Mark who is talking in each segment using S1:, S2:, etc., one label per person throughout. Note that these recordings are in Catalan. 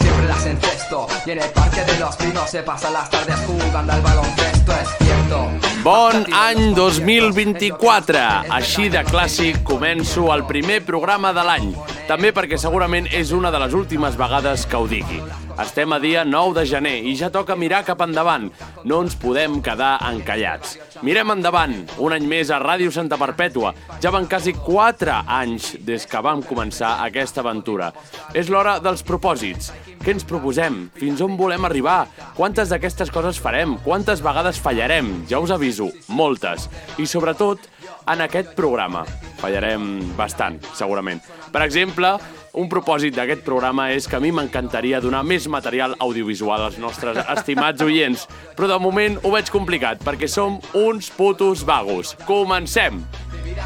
S1: Siempre las encesto. Y en el parque de los pinos se pasan las tardes jugando al baloncesto, es cierto.
S2: Bon any 2024! Així de clàssic començo el primer programa de l'any, també perquè segurament és una de les últimes vegades que ho digui. Estem a dia 9 de gener i ja toca mirar cap endavant. No ens podem quedar encallats. Mirem endavant, un any més a Ràdio Santa Perpètua. Ja van quasi 4 anys des que vam començar aquesta aventura. És l'hora dels propòsits. Què ens proposem? Fins on volem arribar? Quantes d'aquestes coses farem? Quantes vegades fallarem? Ja us aviso, moltes. I sobretot, en aquest programa. Fallarem bastant, segurament. Per exemple, un propòsit d'aquest programa és que a mi m'encantaria donar més material audiovisual als nostres estimats oients, però de moment ho veig complicat, perquè som uns putos vagos. Comencem!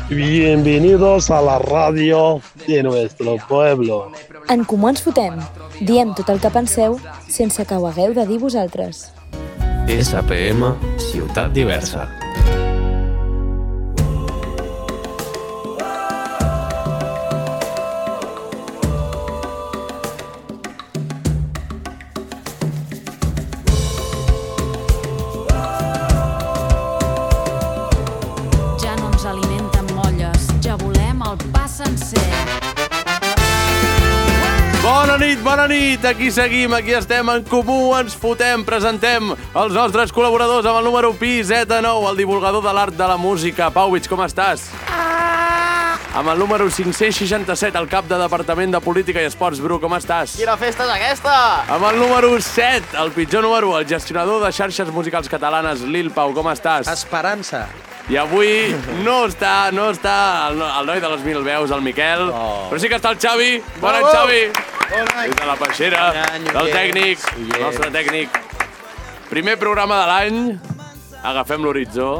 S3: Bienvenidos a la radio de nuestro pueblo.
S4: En Comú Ens Fotem. Diem tot el que penseu sense que ho hagueu de dir vosaltres.
S5: SPM Ciutat Diversa.
S6: Ja no ens alimenten molles, ja volem el pa sencer.
S2: Bona nit, bona nit! Aquí seguim, aquí estem en comú, ens fotem, presentem els nostres col·laboradors amb el número Pi Z9, el divulgador de l'art de la música. Pauwitz, com estàs? Amb el número 567, el cap de Departament de Política i Esports, Bru, com estàs?
S7: Quina festa és aquesta?
S2: Amb el número 7, el pitjor número, el gestionador de xarxes musicals catalanes, Lil Pau, com estàs?
S8: Esperança.
S2: I avui no està, no està el, no- el noi de les mil veus, el Miquel, oh. però sí que està el Xavi. Bon any,
S7: Bravo!
S2: Xavi!
S7: Bon any.
S2: Des de la peixera,
S8: Oh. Bon any,
S2: del
S8: oients,
S2: tècnic, el
S8: oients.
S2: nostre tècnic. Primer programa de l'any, agafem l'horitzó,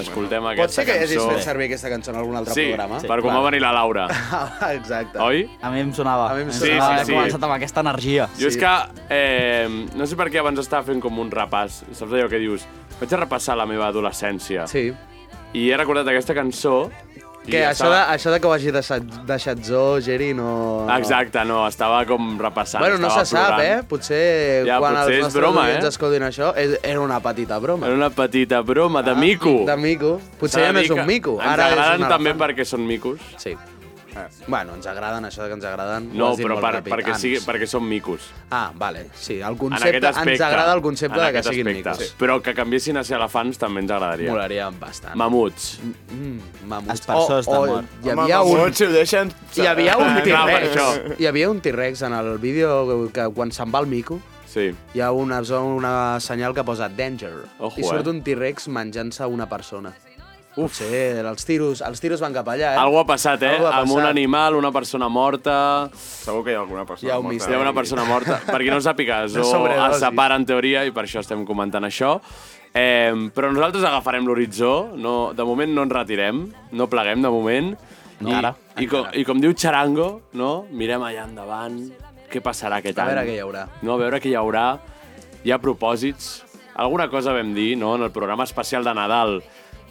S2: escoltem aquesta
S8: Pot ser que hagis
S2: cançó.
S8: fet servir aquesta cançó en algun altre
S2: sí,
S8: programa?
S2: per com va venir la Laura,
S8: Ah, Exacte.
S2: oi?
S7: A mi em sonava.
S8: A mi em
S2: Sí, sí,
S8: sonava.
S7: He
S2: sí.
S7: començat amb aquesta energia.
S2: Jo és que, eh, no sé per què abans estava fent com un repàs, saps allò que dius? Vaig a repassar la meva adolescència
S8: Sí.
S2: i he recordat aquesta cançó i
S8: Que això,
S2: estava-
S8: de, això de que ho hagi deixat, deixat Zo, Geri, no... no.
S2: Exacte, no, estava com repassant.
S8: Bueno, no
S2: estava
S8: se sap,
S2: plorant.
S8: eh? Potser
S2: Ja,
S8: quan
S2: potser és
S8: els nostres
S2: broma,
S8: oients
S2: eh?
S8: escoltin això, és, era una petita broma.
S2: Era una petita broma de mico.
S8: Ah, De mico. Potser ja no és un mico.
S2: Ens
S8: Ara és
S2: agraden
S8: un
S2: també
S8: elefant.
S2: perquè són micos.
S8: Sí. Bueno, ens agraden, això de que ens agraden. ho
S2: No,
S8: has dit
S2: però
S8: molt
S2: per,
S8: ràpid,
S2: perquè,
S8: ans.
S2: sigui, perquè són micos.
S8: Ah, vale. Sí, el
S2: En
S8: concepte,
S2: aquest aspecte.
S8: ens agrada el concepte
S2: en
S8: de que
S2: aquest
S8: siguin
S2: aspecte.
S8: micos.
S2: Però que canviessin a ser elefants també ens agradaria.
S8: Molaria bastant.
S2: Mamuts.
S8: Mm, mamuts.
S7: Espersors de mort.
S8: Hi havia
S9: Home,
S8: un...
S9: mamuts, si ho deixen...
S8: Hi havia un
S2: Eh, clar, per
S8: T-Rex.
S2: això.
S8: Hi havia un T-Rex en el vídeo que quan se'n va el mico
S2: Sí.
S8: hi ha una, zona- una senyal que posa danger
S2: Ojo,
S8: i surt
S2: eh.
S8: un T-Rex menjant-se una persona.
S2: Uf.
S8: Sí, els tiros, els tiros van cap allà, eh?
S2: Algú ha passat, eh?
S8: Algú ha
S2: Amb un
S8: passat.
S2: animal, una persona morta...
S9: Segur que hi ha alguna persona
S8: Hi ha un
S9: morta.
S8: mister.
S2: Hi ha una persona morta. per qui no ho sàpiga, Zo
S8: sobredosi.
S2: es separa en teoria i per això estem comentant això. Eh, però nosaltres agafarem l'horitzó, no, de moment no ens retirem, no pleguem de moment. No, I, ara. I com, I com diu Charango, no? mirem allà endavant, què passarà aquest
S8: A
S2: any.
S8: veure què hi haurà.
S2: No, a veure què hi haurà. Hi ha propòsits. Alguna cosa vam dir no? en el programa especial de Nadal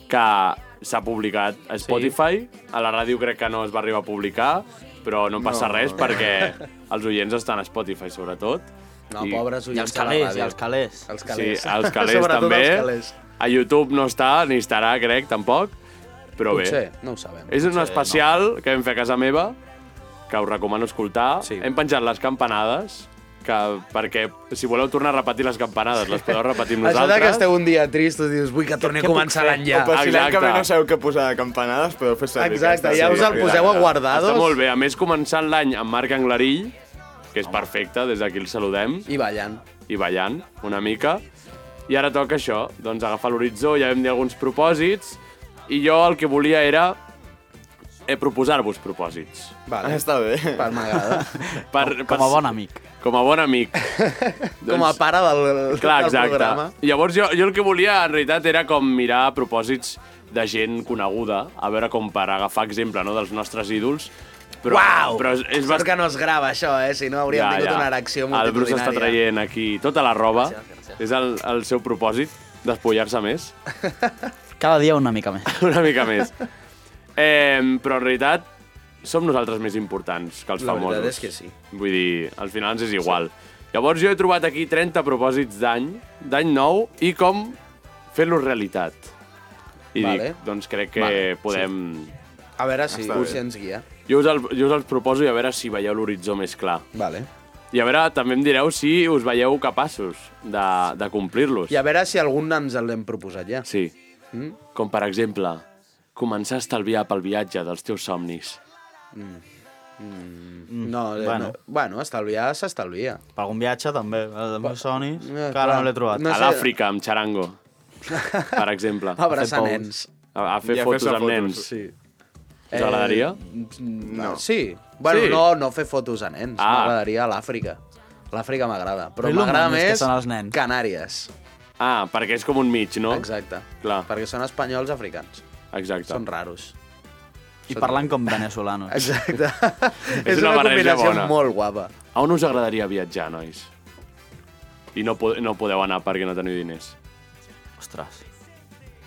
S2: que s'ha publicat a Spotify. Sí. A la ràdio crec que no es va arribar a publicar, però no passa no. res perquè els oients estan a Spotify, sobretot.
S8: No, pobres
S7: I els
S8: oients de la
S7: calés, i
S8: ràdio.
S7: els calés.
S8: Els
S2: Sí,
S8: calés.
S2: als calés
S8: Sobretot
S2: també.
S8: Els calés.
S2: A YouTube no està, ni estarà, crec, tampoc. Però
S8: Potser,
S2: bé, Eh,
S8: no ho sabem.
S2: és un especial no. que vam fer a casa meva, que us recomano escoltar.
S8: Sí.
S2: Hem penjat les campanades, que, perquè si voleu tornar a repetir les campanades, les podeu repetir amb
S8: Això de
S2: nosaltres.
S8: que esteu un dia trist, us dius, vull que torni a començar l'any ja.
S9: O per si l'any que ve
S2: Exacte.
S9: no sabeu què posar de campanades, podeu fer servir
S8: Exacte,
S9: aquesta,
S8: ja
S9: sí,
S8: us el
S9: perquè-
S8: poseu a guardados.
S2: Està molt bé. A més, començant l'any amb Marc Anglarill, que és perfecte, des d'aquí el saludem,
S8: I ballant.
S2: i ballant una mica. I ara toca això, doncs agafar l'horitzó, ja vam dir alguns propòsits, i jo el que volia era eh, proposar-vos propòsits.
S8: Vale.
S9: Està bé.
S8: Per m'agrada.
S2: Per,
S7: Com a bon amic.
S2: Com a bon amic.
S8: Com a pare del,
S2: Doncs Clar,
S8: del
S2: exacte.
S8: programa.
S2: Llavors jo, jo el que volia en realitat era com mirar propòsits de gent coneguda, a veure com per agafar exemple no, dels nostres ídols. Però,
S8: Uau!
S2: Però és, és
S8: Sort que no es grava això, eh? Si no hauríem ja, tingut ja. una erecció
S2: El Bruce
S8: multitudinària.
S2: està traient aquí tota la roba. És el, el seu propòsit, despullar-se més.
S7: Cada dia una mica més.
S2: Una mica més. Eh, però en realitat som nosaltres més importants que els
S8: La
S2: famosos.
S8: veritat és que sí.
S2: Vull dir, al final ens és igual. Sí. Llavors jo he trobat aquí 30 propòsits d'any, d'any nou, i com fer-los realitat. I
S8: Vale.
S2: dic, doncs crec que
S8: Vale,
S2: podem...
S8: A veure si,
S9: Està bé.
S8: si ens guia.
S2: Jo, us el, jo us els proposo i a veure si veieu l'horitzó més clar.
S8: Vale.
S2: I a veure, també em direu si us veieu capaços de, de complir-los.
S8: I a veure si algun ens l'hem proposat ja.
S2: Sí. Mm? Com, per exemple, començar a estalviar pel viatge dels teus somnis.
S8: No, eh,
S7: bueno.
S8: bueno. no. Bueno, estalviar s'estalvia.
S7: Per algun viatge, també. El de meus sonis,
S8: Eh,
S7: que ara
S8: clar.
S7: no l'he trobat.
S8: No
S2: No
S8: sé.
S2: a l'Àfrica, amb xarango, per exemple. A,
S8: Abraçar
S7: fer pous.
S8: nens.
S2: a fer
S9: I a fer-se
S2: fotos amb
S9: fotos,
S2: nens.
S8: Sí.
S2: Us agradaria?
S8: Eh, No. Sí. Bueno,
S2: Sí.
S8: no, no fer fotos a nens.
S2: Ah.
S8: Ah. M'agradaria a l'Àfrica. L'Àfrica m'agrada. Però
S7: És lo
S8: m'agrada
S7: manos que
S8: més
S7: són els nens.
S8: Canàries.
S2: Ah, perquè és com un mig, no?
S8: Exacte.
S2: Clar.
S8: Perquè són espanyols africans.
S2: Exacte.
S8: Són raros.
S7: I parlant com venezolanos.
S8: Exacte.
S2: És
S8: és
S2: una
S8: una,
S2: barreja
S8: combinació
S2: bona.
S8: molt guapa.
S2: A on us agradaria viatjar, nois? I no, po- no podeu anar perquè no teniu diners.
S7: Ostres.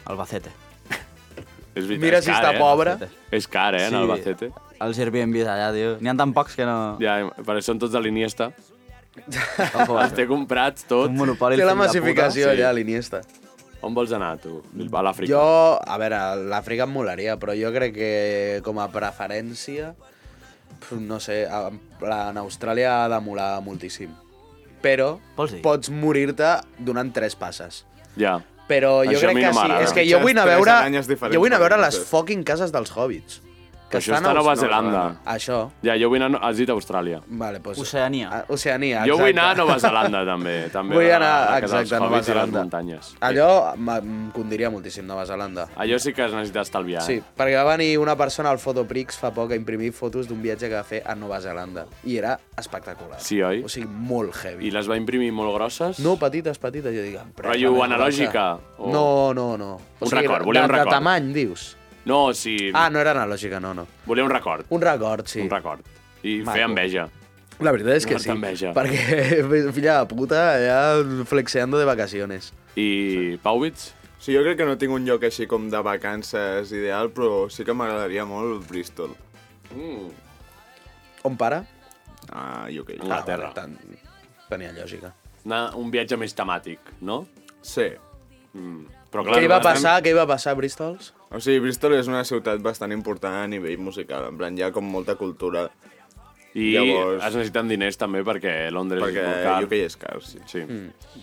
S7: Albacete.
S2: És veritat,
S8: Mira
S2: és
S8: si
S2: car,
S8: està
S2: eh?
S8: pobre.
S2: És car, eh, en Albacete.
S7: Els Airbnbs allà, tio. N'hi ha tan pocs que no...
S2: Ja, per això són tots de l'Iniesta.
S7: Ojo,
S2: Els té comprats
S7: un
S2: tots.
S7: monopoli.
S8: Té
S7: el
S8: la
S7: fill de
S8: massificació
S2: puta, sí.
S8: allà, a l'Iniesta.
S2: On vols anar, tu? A l'Àfrica.
S8: Jo, a veure, l'Àfrica em molaria, però jo crec que com a preferència, pf, no sé, a- la- en Austràlia ha de molar moltíssim. Però
S7: Vols dir?
S8: pots morir-te donant tres passes.
S2: Ja.
S8: Però jo
S2: Això a
S8: crec
S2: mi
S8: que
S2: no
S8: sí.
S2: m'agrada.
S8: És que jo vull anar a
S9: Tres
S8: veure,
S9: aranyes diferents
S8: jo vull anar a veure
S9: per
S8: les
S9: totes.
S8: fucking cases dels hobbits.
S2: Que això està a
S8: Aus-
S2: Nova
S9: no,
S2: Zelanda.
S9: no.
S8: Això.
S2: Ja, jo vull anar... Has dit Austràlia.
S8: Vale, pues...
S7: Oceania.
S8: A- Oceania, exacte.
S2: Jo vull anar a Nova Zelanda, també. també
S8: Vull anar,
S2: a la casa dels
S8: exacte, a Nova
S2: hobbits i les
S8: Zelanda.
S2: muntanyes.
S8: Allò m- em condiria moltíssim, Nova Zelanda.
S2: Allò sí que es necessita estalviar.
S8: Sí,
S2: eh?
S8: perquè va venir una persona al Fotoprix fa poc a imprimir fotos d'un viatge que va fer a Nova Zelanda. I era espectacular.
S2: Sí, oi?
S8: O sigui, molt
S2: I
S8: heavy.
S2: les va imprimir molt grosses?
S8: No, petites, petites, jo dic... empresa,
S2: Rotllo
S8: no,
S2: analògica, o-
S8: No, no, no.
S2: Un record, volia
S8: de,
S2: un record.
S8: De tamany, dius?
S2: No, sí.
S8: Ah, no era analògica, no, no.
S2: Volia un record.
S8: Un record, sí.
S2: Un record. I
S8: Maco.
S2: fer enveja.
S8: La veritat és que
S2: Una
S8: sí.
S2: enveja.
S8: Perquè, filla de puta, ja flexeando de vacaciones.
S2: I Pauwitz?
S9: Sí, jo crec que no tinc un lloc així com de vacances ideal, però sí que m'agradaria molt Bristol.
S8: On para?
S9: Ah, jo que
S2: Clar. Anglaterra.
S8: Ah, tant, tenia lògica.
S2: Anar un viatge més temàtic, no? Mm.
S9: Sí.
S2: Però
S8: Què hi va
S2: bastant-
S8: passar? Què hi va passar a Bristols?
S9: O sigui, Bristol és una ciutat bastant important a nivell musical, en plan, hi ha com molta cultura,
S2: I
S9: Llavors-
S2: es necessiten diners també perquè Londres
S9: perquè
S2: és
S9: jo
S2: molt car.
S9: que és car, sí.
S2: Sí.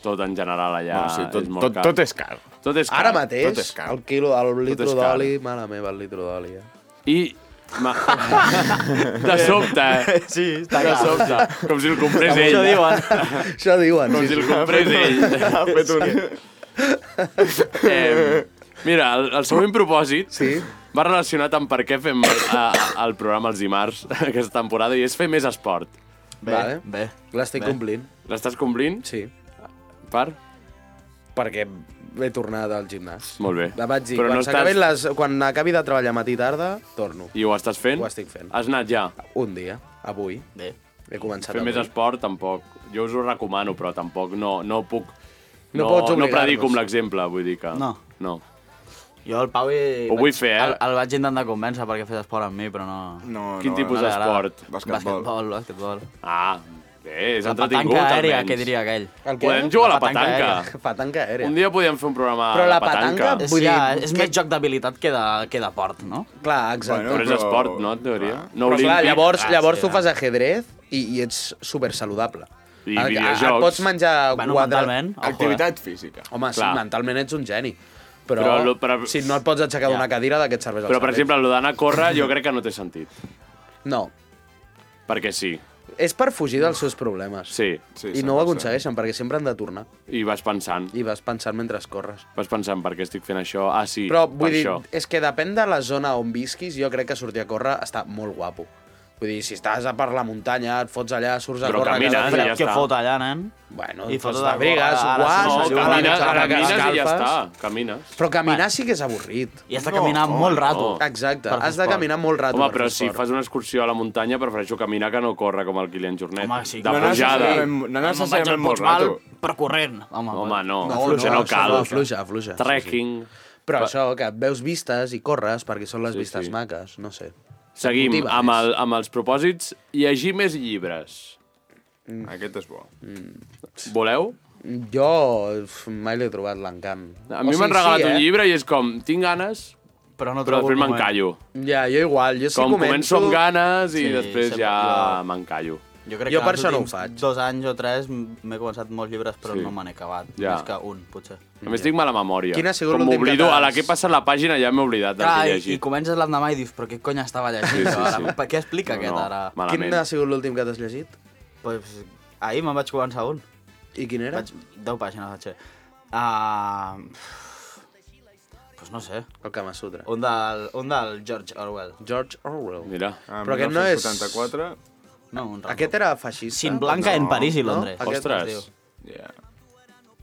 S2: Tot en general allà
S9: Bueno, sí, tot,
S2: és molt
S9: tot,
S2: car.
S9: tot és car.
S2: tot és car.
S8: Ara
S9: tot
S8: mateix,
S9: és car.
S8: el quilo, el
S2: és
S8: litro
S2: car.
S8: d'oli, mare meva, el litro d'oli. Eh?
S2: I... Ma... De sobte, eh?
S7: Sí, està
S2: De
S7: clar.
S2: sobte. Com si el comprés ell.
S7: Això diuen.
S8: Això diuen.
S2: Com si el comprés ell.
S9: Ha fet un...
S2: Eh, mira, el, el següent propòsit
S8: Sí.
S2: va relacionat amb per què fem el, a, a- el programa els dimarts aquesta temporada i és fer més esport.
S7: Bé,
S8: Vale.
S7: bé.
S8: L'estic
S7: Bé.
S8: complint,
S2: L'estàs complint?
S8: sí.
S2: Per?
S8: Perquè he tornat al gimnàs.
S2: Molt bé.
S8: La vaig dir,
S2: Però
S8: quan,
S2: no
S8: no
S2: estàs...
S8: les, quan acabi de treballar matí i tarda, torno.
S2: I ho estàs fent?
S8: Ho estic fent.
S2: Has anat ja.
S8: Un dia, avui.
S7: Bé.
S8: He començat
S2: Fer
S8: avui.
S2: més esport, tampoc. Jo us ho recomano, però tampoc no, no puc...
S8: No pots
S2: no
S8: obligar-nos.
S2: predico amb l'exemple, vull dir que...
S7: No.
S2: No.
S7: Jo el Pau...
S2: Ho vull fer, eh?
S7: El, el vaig intentar convèncer perquè fes esport amb mi, però no...
S9: No,
S2: Quin
S9: no,
S2: tipus
S9: no.
S7: li agrada.
S2: d'esport?
S9: Basquetbol.
S7: Basquetbol, basquetbol.
S2: Ah, bé, és
S7: La
S2: entretingut,
S7: petanca aèria,
S2: almenys.
S7: que diria aquell.
S8: El què?
S2: Podem jugar a la
S7: La petanca
S2: petanca.
S8: Petanca aèria.
S2: Un dia podíem fer un programa
S8: Però
S2: a
S8: la petanca-
S2: petanca.
S7: És,
S8: Vull
S7: ja,
S8: dir,
S7: és
S8: que-
S7: més joc d'habilitat que, de, que d'aport, no?
S8: Clar, exacte.
S9: Bueno,
S2: Però és
S9: Però-
S2: esport, no, en teoria?
S9: clar.
S2: No
S8: Però clar,
S2: olímpic.
S8: llavors,
S7: Ah,
S8: llavors
S7: sí,
S8: tu
S7: clar.
S8: fas ajedrez i, i ets super saludable.
S2: I videojocs.
S8: Et pots menjar
S7: Bueno,
S8: quatre...
S7: mentalment. Ojo, eh?
S9: Activitat física.
S8: Home, sí,
S2: Clar.
S8: mentalment ets un geni. Però,
S2: Però lo- però-
S8: si no et pots aixecar d'una
S7: Ja.
S8: cadira, de què et serveix el
S2: Però, per
S8: cervell?
S2: exemple, el d'anar a córrer jo crec que no té sentit.
S8: No,
S2: Perquè sí,
S8: és per fugir dels seus problemes.
S2: sí.
S9: Sí,
S8: I no ho
S9: 100%.
S8: aconsegueixen, perquè sempre han de tornar.
S2: I vas pensant.
S8: I vas pensant mentre corres.
S2: Vas pensant, per què estic fent això? Ah, sí,
S8: Però
S2: per
S8: vull dir,
S2: això.
S8: és que depèn de la zona on visquis, jo crec que sortir a córrer està molt guapo. Vull dir, si estàs a per la muntanya, et fots allà, surts a
S2: Però
S8: córrer...
S2: camines,
S8: que fa
S2: i
S8: fred.
S2: ja
S10: que
S2: està.
S10: fot allà, nen.
S8: Bueno, doncs
S10: I
S8: I fots
S10: fotes
S8: de
S10: de
S8: brigues,
S10: gorra,
S8: guants,
S10: ara
S2: No,
S10: sí,
S8: una
S2: camines,
S8: mitjana
S2: ara
S8: que
S2: camines i ja
S8: escalfes.
S2: està. Camines.
S8: Però caminar sí que és avorrit.
S10: I has de
S11: No,
S10: caminar
S11: home,
S10: molt rato.
S2: no.
S8: Exacte,
S10: Per fer
S8: has de
S10: esport.
S8: caminar molt rato.
S2: Home,
S8: per
S2: però
S8: fer
S2: si
S8: esport.
S2: fas una excursió a la muntanya, prefereixo caminar que no córrer com el Kilian Jornet.
S10: Home, sí,
S2: de
S10: no
S2: pujada.
S11: necessàriament- No necessàriament molt
S10: Puigmal,
S11: rato.
S10: però corrent. Home,
S2: Home, no. No,
S8: No,
S2: fluixa, no,
S8: no,
S2: cal.
S8: no, fluixa, fluixa.
S2: Trekking.
S8: Però això, que et veus vistes i corres perquè són les
S2: Sí,
S8: vistes
S2: sí.
S8: maques, no sé.
S2: Seguim
S8: Motiva
S2: amb,
S8: més.
S2: el, amb els propòsits. Llegir més llibres.
S11: Mm.
S2: Mm.
S11: Aquest és bo.
S2: Voleu?
S8: Jo uf, mai l'he trobat l'encant.
S2: A
S8: O
S2: mi
S8: sigui,
S2: m'han regalat
S8: sí,
S2: un
S8: eh?
S2: llibre i és com, tinc ganes,
S10: Però no
S2: però
S10: trobo
S2: després
S10: el moment.
S2: m'encallo.
S8: Ja, jo igual, jo si
S2: Com
S8: començo...
S2: començo amb ganes i
S10: Sí,
S2: després
S10: sempre
S2: ja
S10: igual.
S2: m'encallo.
S10: Jo, crec
S8: Jo
S10: que
S8: per
S10: els
S8: això no ho
S10: últims
S8: faig.
S10: Dos anys o tres m'he començat molts llibres, però
S2: Sí.
S10: no me n'he acabat.
S2: Ja.
S10: Més que un, potser.
S2: A més, tinc mala memòria.
S8: Quin ha sigut
S2: Com
S8: l'últim que
S2: m'oblido, a la
S8: t'has-
S2: que passa la pàgina ja m'he oblidat del
S10: Clar,
S2: que he
S10: i, i
S2: llegit.
S10: comences l'endemà i dius, però què cony estava
S2: Sí,
S10: llegint?
S2: sí,
S10: Sí, sí,
S2: sí.
S10: sí. Què explica no, aquest
S2: no,
S10: ara? Ma...
S8: Quin
S2: Malament.
S8: ha sigut l'últim que t'has llegit?
S10: Pues, ahir me'n vaig començar un.
S8: I quin era?
S10: Vaig, 10 pàgines vaig fer. Uh, pues no sé.
S8: El Kama Sutra.
S10: Un del, un del George Orwell.
S8: Oh. George Orwell.
S2: Mira,
S11: Ah,
S8: Però aquest no és-
S11: 1974,
S10: No, un random.
S8: Aquest era feixista?
S10: Sin Blanca no, en París i
S8: no?
S10: Londres.
S8: Aquest
S2: Ostres.
S8: es diu.
S11: yeah.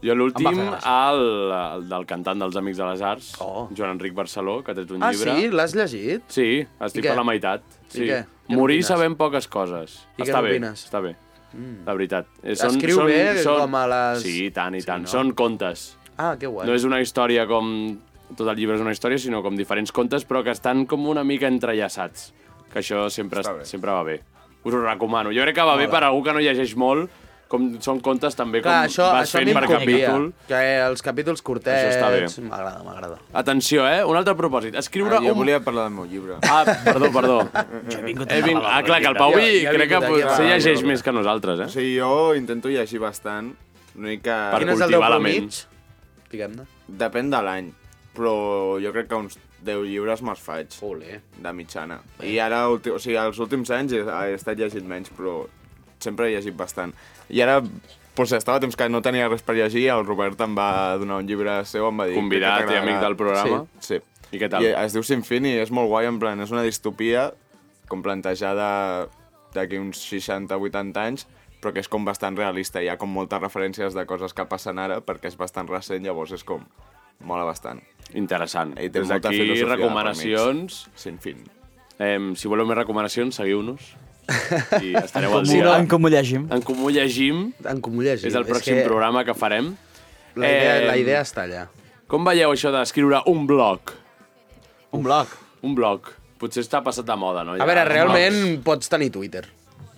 S2: jo l'últim,
S10: Em va fer gràcia.
S2: el, el del cantant dels Amics de les Arts,
S8: Oh.
S2: Joan Enric Barceló, que tens un
S8: Ah,
S2: llibre.
S8: sí? L'has llegit?
S2: Sí, estic
S8: I què?
S2: per la meitat. Sí.
S8: què? Què
S2: Morir
S8: n'opines?
S2: sabem poques coses.
S8: I què
S2: està bé,
S8: n'opines? Mm.
S2: està bé. La veritat. Eh,
S8: Escriu bé, com a les-
S2: Sí, i tant, i
S8: Sí,
S2: tant.
S8: no?
S2: Són contes.
S8: Ah, que guai.
S2: No és una història com... Tot el llibre és una història, sinó com diferents contes, però que estan com una mica entrellaçats. Que això sempre,
S11: Està bé.
S2: sempre va bé. Us ho recomano. Jo crec que va bé per algú que no llegeix molt, com són contes també com
S8: Clar, això,
S2: vas
S8: això a
S2: fent
S8: mi em
S2: per
S8: convia,
S2: capítol.
S8: que eh, els capítols
S2: Això
S8: curtets...
S2: està bé.
S8: M'agrada, m'agrada.
S2: Atenció, eh? Un altre propòsit. Escriure
S11: Ah, jo
S2: un...
S11: volia parlar del meu llibre.
S2: Ah, perdó, perdó.
S10: Jo he vingut
S2: He vin...
S10: a
S2: Ah, clar, que el Pau
S8: Jo- jo
S2: Vi
S8: he
S2: crec que
S8: vingut aquí a
S2: potser
S8: parlar
S2: llegeix
S8: del
S2: més que nosaltres, eh?
S11: O sigui, jo intento llegir bastant, una mica...
S2: Per
S8: Quin és el teu
S2: cultivar la
S8: punt
S2: ment.
S8: mig? Diguem-ne.
S11: Depèn de l'any, però jo crec que uns 10 llibres me'ls faig,
S8: Olé.
S11: de mitjana. I ara, ulti- o sigui, els últims anys he, he estat llegint menys, però sempre he llegit bastant. I ara, doncs estava temps que no tenia res per llegir, el Robert em va donar un llibre seu, em va dir...
S2: Convidat
S11: "Crec que
S2: i amic
S11: t'agradarà".
S2: del programa.
S11: Sí. sí.
S2: I què tal?
S11: I es diu Sin Fin i és molt guai, en plan, és una distopia com plantejada d'aquí uns 60-80 anys, però que és com bastant realista. Hi ha com moltes referències de coses que passen ara, perquè és bastant recent, llavors és com... Mola bastant.
S2: Interessant.
S11: I té
S2: Des
S11: molta
S2: d'aquí,
S11: filosofia per mig.
S2: recomanacions.
S11: Sin Fin.
S2: Eh, si voleu més recomanacions, seguiu-nos. I estareu al
S10: Si
S2: dia.
S10: no,
S11: eh?
S10: en com ho llegim.
S2: En Comú Llegim
S8: En comú llegim.
S2: és el pròxim
S8: que
S2: programa que farem.
S8: La idea,
S2: Eh,
S8: la idea està allà.
S2: Com veieu això d'escriure un blog?
S10: Un blog.
S2: Un blog. Potser està passat de moda, no?
S8: A veure,
S2: Els
S8: realment
S2: blogs.
S8: pots tenir Twitter.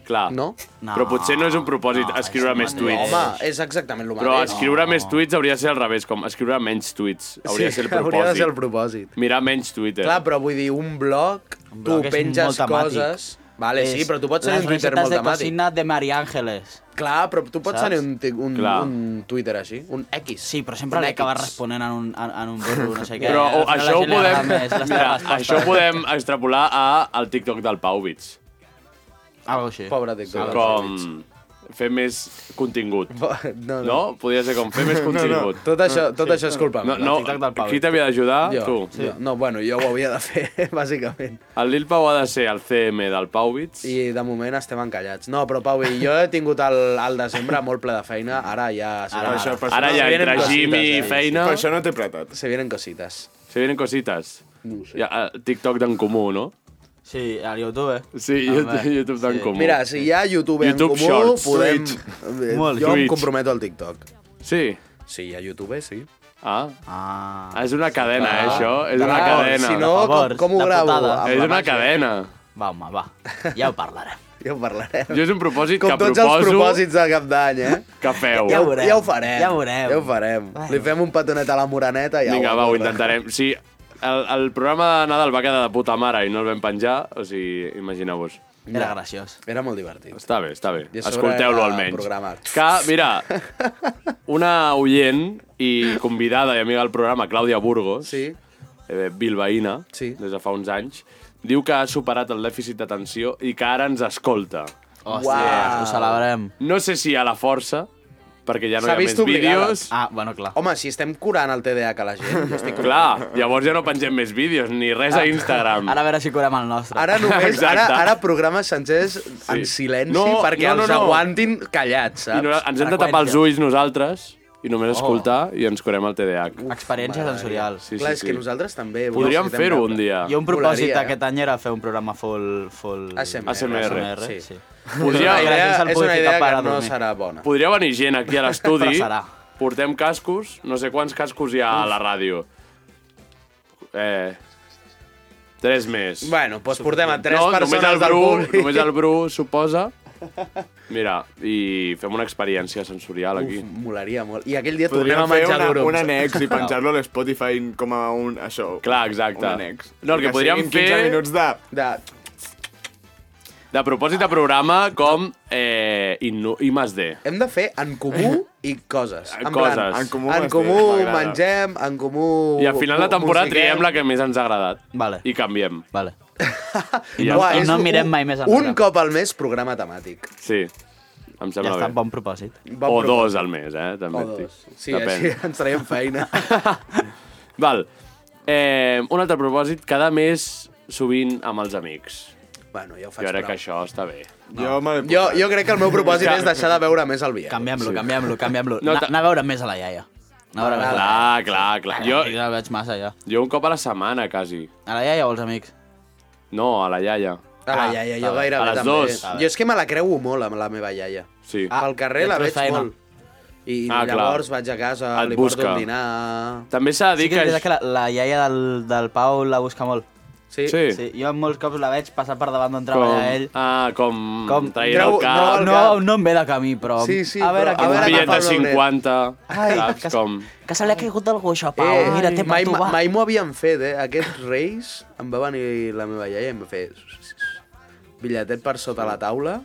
S2: Clar.
S8: no?
S10: No,
S2: Però potser no és un propòsit
S10: no,
S2: escriure
S10: és
S2: més
S10: un
S2: tuits.
S8: Home, és exactament el mateix.
S2: Però escriure més tuits hauria de ser al revés, com escriure menys tuits. Hauria de ser el propòsit.
S8: Hauria de ser el propòsit.
S2: Mirar menys Twitter.
S8: Clar, però vull dir, un blog, tu
S10: Un blog és molt
S8: penges
S10: temàtic.
S8: coses... Vale, sí,
S10: És
S8: però tu pots tenir un Twitter molt
S10: Les recetes de
S8: temàtic.
S10: cocina de María Ángeles.
S8: Clar, però tu pots
S10: Saps?
S8: tenir un, ti- un,
S2: Clar.
S8: un Twitter així, un X.
S10: Sí, però sempre
S8: Un
S10: li acabes
S8: X.
S10: responent en un, en, en un burro, no sé què.
S2: Però o,
S10: Al
S2: això, ho
S10: final la gent li agrada
S2: podem,
S10: més les teves
S2: mira,
S10: respostes.
S2: això ho podem extrapolar a, al TikTok del Pauvits.
S10: Algo així.
S8: Pobre TikTok.
S2: Com fer més contingut.
S8: No, no.
S2: No? Podria ser com fer més contingut.
S8: Tot això, tot això és culpa
S2: No,
S8: meva.
S2: no,
S10: TikTok del Pauvits.
S2: qui t'havia d'ajudar?
S8: Jo,
S2: Tu.
S8: jo, no, bueno, jo ho havia de fer, bàsicament.
S2: El Lil Pau ha de ser el CM del Pauvits.
S8: I de moment estem encallats. No, però Pau, i jo he tingut el, el desembre molt ple de feina, ara ja...
S11: Ara, això, per
S2: Ara
S11: això
S2: ja
S11: no-
S2: entre
S8: cositas,
S2: gym i
S8: eh?
S2: feina
S11: Per això no t'he pretat.
S8: Se vienen cositas.
S2: se vienen cositas.
S8: No ho sé.
S2: Ja, eh, TikTok d'en comú, no?
S10: Sí, al YouTube.
S2: Sí,
S10: Home,
S2: YouTube, YouTube d'en
S10: sí.
S2: comú.
S8: Ah, Mira, si hi ha YouTube,
S2: YouTube
S8: en comú,
S2: Shorts,
S8: podem... Eh,
S10: Molt.
S8: Jo
S2: Twitch.
S8: em comprometo al TikTok.
S2: Sí.
S8: Sí, a YouTube, sí.
S2: Ah,
S10: Ah.
S2: és una cadena, eh, això. És una
S8: Clar,
S2: cadena.
S8: Si no,
S10: Per favor,
S8: com, com ho
S10: de
S8: gravo?
S10: putada.
S8: Amb
S2: És
S8: la
S2: una
S8: màgia.
S2: cadena.
S10: Va, home, va. Ja ho parlarem.
S8: Ja ho parlarem.
S2: Jo és un propòsit
S8: Com
S2: que
S8: tots
S2: proposo...
S8: els propòsits del cap d'any, eh?
S2: que feu.
S8: Ja ho,
S10: veurem.
S8: ja ho farem.
S10: Ja ho veurem.
S8: Ja ho farem.
S10: Bueno.
S8: Li fem un petonet a la moraneta i ja
S2: Vinga, va, ho
S8: aborda.
S2: intentarem. Sí, el, el programa de Nadal va quedar de puta mare i no el vam penjar, o sigui, imagineu-vos.
S10: Era graciós.
S8: Era molt divertit.
S2: Està bé, està bé.
S8: I a sobre
S2: Escolteu-lo
S8: era
S2: almenys.
S8: programat.
S2: Que, mira, una oient i convidada i amiga del programa, Clàudia Burgos,
S8: Sí.
S2: eh, bilbaïna,
S8: Sí.
S2: des de fa uns anys, diu que ha superat el dèficit d'atenció i que ara ens escolta.
S10: Hòsties,
S8: Uau.
S10: ho celebrem.
S2: No sé si a la força, perquè ja no hi
S8: S'ha
S2: ha més
S8: vist obligada.
S2: vídeos.
S7: Ah, bueno, clar.
S8: Home, si estem curant el TDAH a la gent, jo estic Ah.
S2: Clar, llavors ja no pengem més vídeos, ni res a Instagram.
S7: Ara a veure si curem el nostre.
S8: Ara només,
S2: Exacte.
S8: ara, ara programes sencers en silenci
S2: No,
S8: perquè
S2: no, no,
S8: els
S2: no.
S8: aguantin callats,
S2: I no,
S8: saps? Oh.
S2: ens hem de tapar els
S7: Freqüències.
S2: ulls nosaltres i només escoltar i ens curem el TDAH.
S7: Experiències sensorials.
S2: sí,
S8: Clar,
S2: sí,
S8: és
S2: sí.
S8: que nosaltres també...
S2: Podríem
S8: necessitem
S2: fer-ho
S8: veure.
S2: un dia.
S7: Jo un propòsit
S8: Volaria, eh?
S7: aquest any era fer un programa full... full...
S8: ASMR.
S2: ASMR,
S7: sí.
S8: sí.
S7: sí.
S2: Podria,
S8: És una idea,
S7: Gràcies al
S8: és una
S7: Purifica
S8: idea
S7: per
S8: que
S7: a
S8: no
S7: dormir.
S8: serà bona.
S2: podria venir gent aquí a l'estudi,
S7: Però serà.
S2: portem cascos, no sé quants cascos hi ha a la ràdio. Eh, tres més.
S8: Bueno, doncs portem a tres
S2: no, només
S8: persones
S2: el
S8: del
S2: Bru,
S8: públic.
S2: Només el Bru, suposa. Mira, i fem una experiència sensorial aquí.
S8: Uf, molaria molt. I aquell dia tornem
S9: Podríem
S8: a
S9: fer
S8: menjar
S9: una,
S8: durums.
S9: un annex i penjar-lo a l'Spotify com a un... Això,
S2: Clar, exacte.
S9: Un annex.
S2: No, el que
S9: siguin
S2: podríem
S9: 15
S2: fer-
S9: minuts de...
S8: De...
S2: De propòsit de programa com eh, Inno, I más D.
S8: Hem de fer en comú i coses. En
S2: Coses.
S8: Plan,
S9: En comú,
S8: en
S9: m'estic,
S8: comú
S9: m'agrada.
S8: mengem, en comú...
S2: I al final de temporada triem la que més ens ha agradat.
S7: Vale.
S2: I canviem.
S7: Vale.
S2: I ja
S7: Uah,
S2: està.
S7: I no mirem mai més
S8: Un
S7: enrere.
S8: cop al mes, programa temàtic.
S2: Sí, em
S7: Ja
S2: sembla
S7: està,
S2: bé.
S7: bon propòsit.
S8: Bon
S2: o
S8: programa.
S2: dos al mes, eh? També
S8: O
S2: et dic.
S8: dos. Sí, així ens traiem feina.
S2: Val. Eh, un altre propòsit, quedar més sovint amb els amics.
S8: bueno, ja ho faig
S2: Jo crec
S8: prou.
S2: que això està bé.
S9: Jo, me l'he
S8: Jo,
S9: posat.
S8: jo crec que el meu propòsit és deixar de veure més el Biel.
S7: Canviem-lo, canviem-lo, canviem-lo.
S2: No,
S7: No,
S2: ta-
S7: anar a veure més a la iaia. Anar a veure més a la iaia.
S2: Clar, clar, clar. Jo,
S7: Jo la veig massa, ja.
S2: jo un cop a la setmana, quasi.
S7: A la iaia o als amics?
S2: No, a la iaia.
S8: Ah, iaia, jo gairebé
S2: A les
S8: també.
S2: dos.
S8: Jo és que me la creu molt, amb la meva iaia.
S2: Sí.
S8: Ah, Pel carrer
S7: ja
S8: la
S7: et
S8: veig
S7: fas feina.
S8: molt. I
S2: Ah,
S8: llavors
S2: clar.
S8: vaig a casa,
S2: Et
S8: li porto
S2: busca.
S8: un dinar...
S2: També s'ha
S7: Sí
S2: de dir
S7: que és veritat que
S2: que...
S7: la, la iaia del, del Pau la busca molt.
S8: Sí.
S2: Sí.
S7: Sí. sí. Jo molts cops la veig passar per davant d'on
S2: Com...
S7: treballa ell.
S2: Ah, com...
S10: Mm.
S7: Com-
S2: Traient el
S8: Treu-
S2: cap.
S8: al
S7: No,
S8: cap.
S7: no em ve de camí, però...
S8: Sí, sí,
S7: a veure,
S8: però-
S7: què
S8: a
S2: Un
S7: passa.
S8: veure,
S2: bitllet de
S8: agafa'l, Loret.
S2: 50.
S7: Ai,
S2: saps
S7: que-
S2: com...
S7: Que se li ha caigut algú, això, Pau.
S8: Eh,
S7: Mira, té per
S8: mai
S7: tu, va.
S8: mai m'ho havien fet, eh? Aquests reis em va venir la meva iaia i em va fer bitlletet per sota la taula,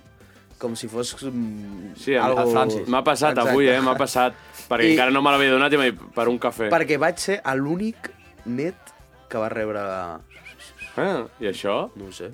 S8: com si fos... mm,
S2: Sí, em-
S8: algo-
S2: a Francis. m'ha passat avui, eh? M'ha passat. Perquè
S8: I-
S2: encara no me l'havia donat i m'he dit, per un cafè.
S8: Perquè vaig ser l'únic net que va rebre...
S2: Ah, I això?
S8: No ho sé.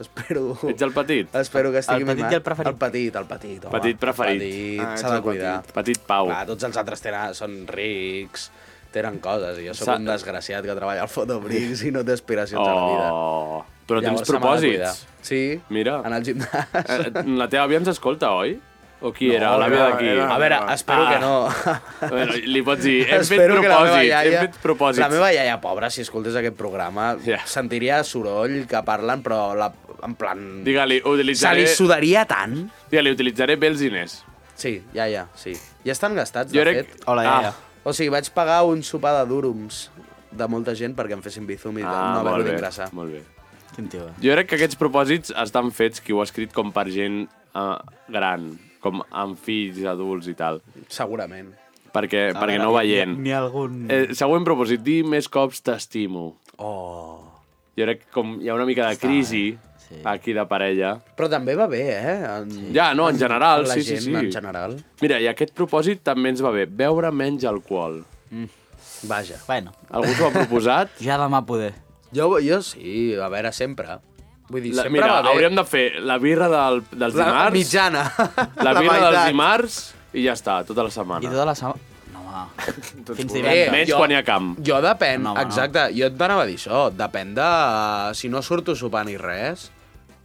S8: Espero...
S2: Ets el petit?
S8: Espero que estigui
S7: El petit
S8: mimat.
S7: i el preferit.
S8: El petit, el petit, home.
S2: Petit preferit.
S8: Petit,
S9: Ah,
S8: s'ha
S9: ets
S8: de
S9: el
S8: cuidar.
S2: Petit Pau.
S8: Clar, tots els altres tenen, són rics, tenen coses, i jo sóc
S2: Sa-
S8: un desgraciat que treballa al Fotobricks i no té aspiracions a la vida.
S2: Oh, però tens
S8: Llavors se m'ha de
S2: propòsits.
S8: cuidar. Sí,
S2: Mira.
S8: anar al gimnàs.
S2: Eh, La teva àvia ens escolta, oi? O qui no, Eh, era?
S9: No,
S2: L'àvia
S9: era-
S2: d'aquí.
S9: era-
S8: A veure, espero
S2: Ah.
S8: que no.
S2: Bueno, li pots dir, hem fet
S8: Espero que la meva
S2: propòsits,
S8: iaia-
S2: hem fet propòsits.
S8: La meva iaia, pobra, si escoltes aquest programa,
S2: Ja.
S8: sentiria soroll que parlen, però la, en plan...
S2: Digue-li,
S8: Se
S2: utilitzaré,
S8: li sudaria tant.
S2: digue utilitzaré bé els diners.
S8: Sí, ja, ja, sí. Ja estan gastats,
S2: Jo
S8: de
S2: crec... Ah.
S8: fet.
S7: Hola, iaia.
S8: O sigui, vaig pagar un sopar de durums de molta gent perquè em fessin bizum i
S2: Ah,
S8: no
S2: molt
S8: vaig
S2: bé,
S8: d'ingressar.
S2: molt bé.
S7: Quin tio, eh?
S2: Jo crec que aquests propòsits estan fets, qui ho ha escrit, com per gent eh, gran, com amb fills, adults i tal.
S8: Segurament.
S2: Perquè, perquè no ho veient.
S7: Ni algun...
S2: Eh, següent propòsit, dir més cops t'estimo.
S8: Oh.
S2: Jo crec que com hi ha una mica de crisi
S7: Sí.
S2: aquí de parella.
S8: Però també va bé, eh? En...
S2: Ja, no, en general,
S8: la
S2: sí, sí,
S8: gent,
S2: sí.
S8: En general.
S2: Mira, i aquest propòsit també ens va bé, beure menys alcohol.
S8: Vaja.
S7: Bueno,
S2: Algú s'ho ha proposat?
S7: ja demà poder.
S8: Jo, jo sí, a veure, sempre. Vull dir,
S2: La,
S8: sempre
S2: mira,
S8: va bé.
S2: hauríem de fer la birra del, dels
S8: La
S2: dimarts,
S8: mitjana.
S2: la birra dels
S8: meitat.
S2: dimarts i ja està, tota la setmana.
S7: I tota la setmana... No, home. Fins
S8: Eh,
S7: divendres.
S2: Menys
S8: jo-
S2: quan hi ha camp.
S8: Jo depèn,
S7: No,
S8: no,
S7: home, no.
S8: exacte, jo et anava a dir això, depèn de... eh, Si no surto sopant i res,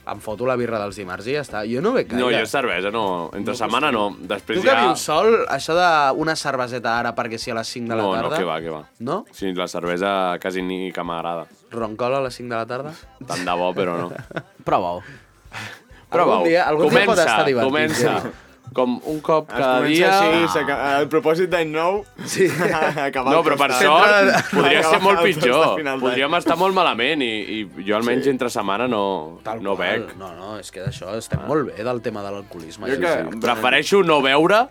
S8: em foto la birra dels dimarts i ja està. Jo no bec gaire.
S2: No, jo cervesa, no. Entre setmana no. Després
S8: Tu que
S2: ja...
S8: vius sol, això d'una cerveseta ara perquè si a les 5 de la
S2: No, no,
S8: tarda...
S2: que va, que va.
S8: No?
S2: Sí, la cervesa quasi ni que m'agrada.
S8: Roncola a les 5 de la tarda?
S2: Tant de bo, però no.
S7: Prova-ho.
S2: Prova-ho.
S8: dia- algun dia pot
S2: Comença,
S8: estar divertit,
S2: comença. Com un cop cada dia... Ah.
S9: Així, s'aca- el propòsit d'any nou... Sí. acabar
S2: No, però per
S9: costat.
S2: sort
S9: Sempre-
S2: podria ser
S9: acabar
S2: molt
S9: al costat
S2: pitjor.
S9: final d'any.
S2: Podríem estar molt malament i, i jo almenys sí. entre setmana no, no
S8: qual.
S2: bec.
S8: No, no, és que d'això
S10: Ah.
S8: estem molt bé del tema de l'alcoholisme.
S9: Jo
S8: Sí,
S9: que-
S8: sí.
S2: Prefereixo no beure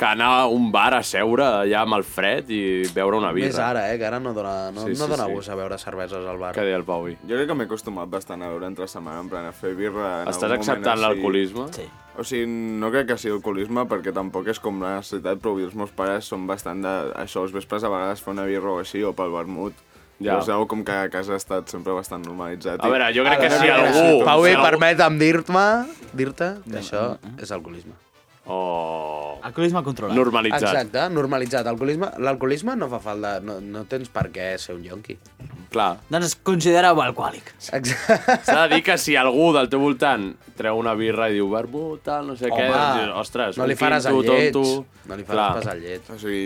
S2: que anar a un bar a seure allà amb el fred i beure una birra.
S8: Més ara, eh, que ara no dona, no,
S2: Sí,
S8: sí,
S2: sí,
S8: no dona
S2: sí.
S8: gust a veure cerveses al bar.
S2: Que deia el Pau avui.
S9: Jo crec que m'he acostumat bastant a veure entre setmana, en plan, a fer birra... en
S2: Estàs
S9: algun moment
S2: acceptant
S9: així.
S2: l'alcoholisme?
S7: Sí.
S9: O sigui, no crec que sigui alcoholisme, perquè tampoc és com la necessitat, però els meus pares són bastant de... Això, els vespres a vegades fer una birra o així, o pel vermut.
S2: Ja.
S9: Ja. Llavors, veu com que a Ah, casa ha estat sempre bastant normalitzat.
S2: A
S9: i-
S2: veure, jo crec
S9: A
S2: que
S8: uh,
S9: veure,
S2: si
S8: eh,
S9: a veure,
S2: algú...
S9: sí,
S8: Pau,
S2: si
S8: i
S2: algú- eh?
S8: permeta'm dir-me dir-te que això és alcoholisme.
S2: o
S7: Alcoholisme controlat.
S2: Oh, normalitzat?
S8: Exacte, normalitzat. Alcoholisme- L'alcoholisme no fa falta, no, no tens per què ser un yonqui.
S2: Clar.
S7: Doncs considereu alcohòlic.
S8: Exacte.
S2: S'ha de dir que si algú del teu voltant treu una birra i diu verbo, tal, no sé
S8: Home,
S2: què, doncs dius, ostres,
S8: no li
S2: un
S8: faràs
S2: quinto,
S8: el lleig.
S2: tonto...
S8: No li faràs
S2: Clar.
S8: pas el lleig.
S9: O sigui,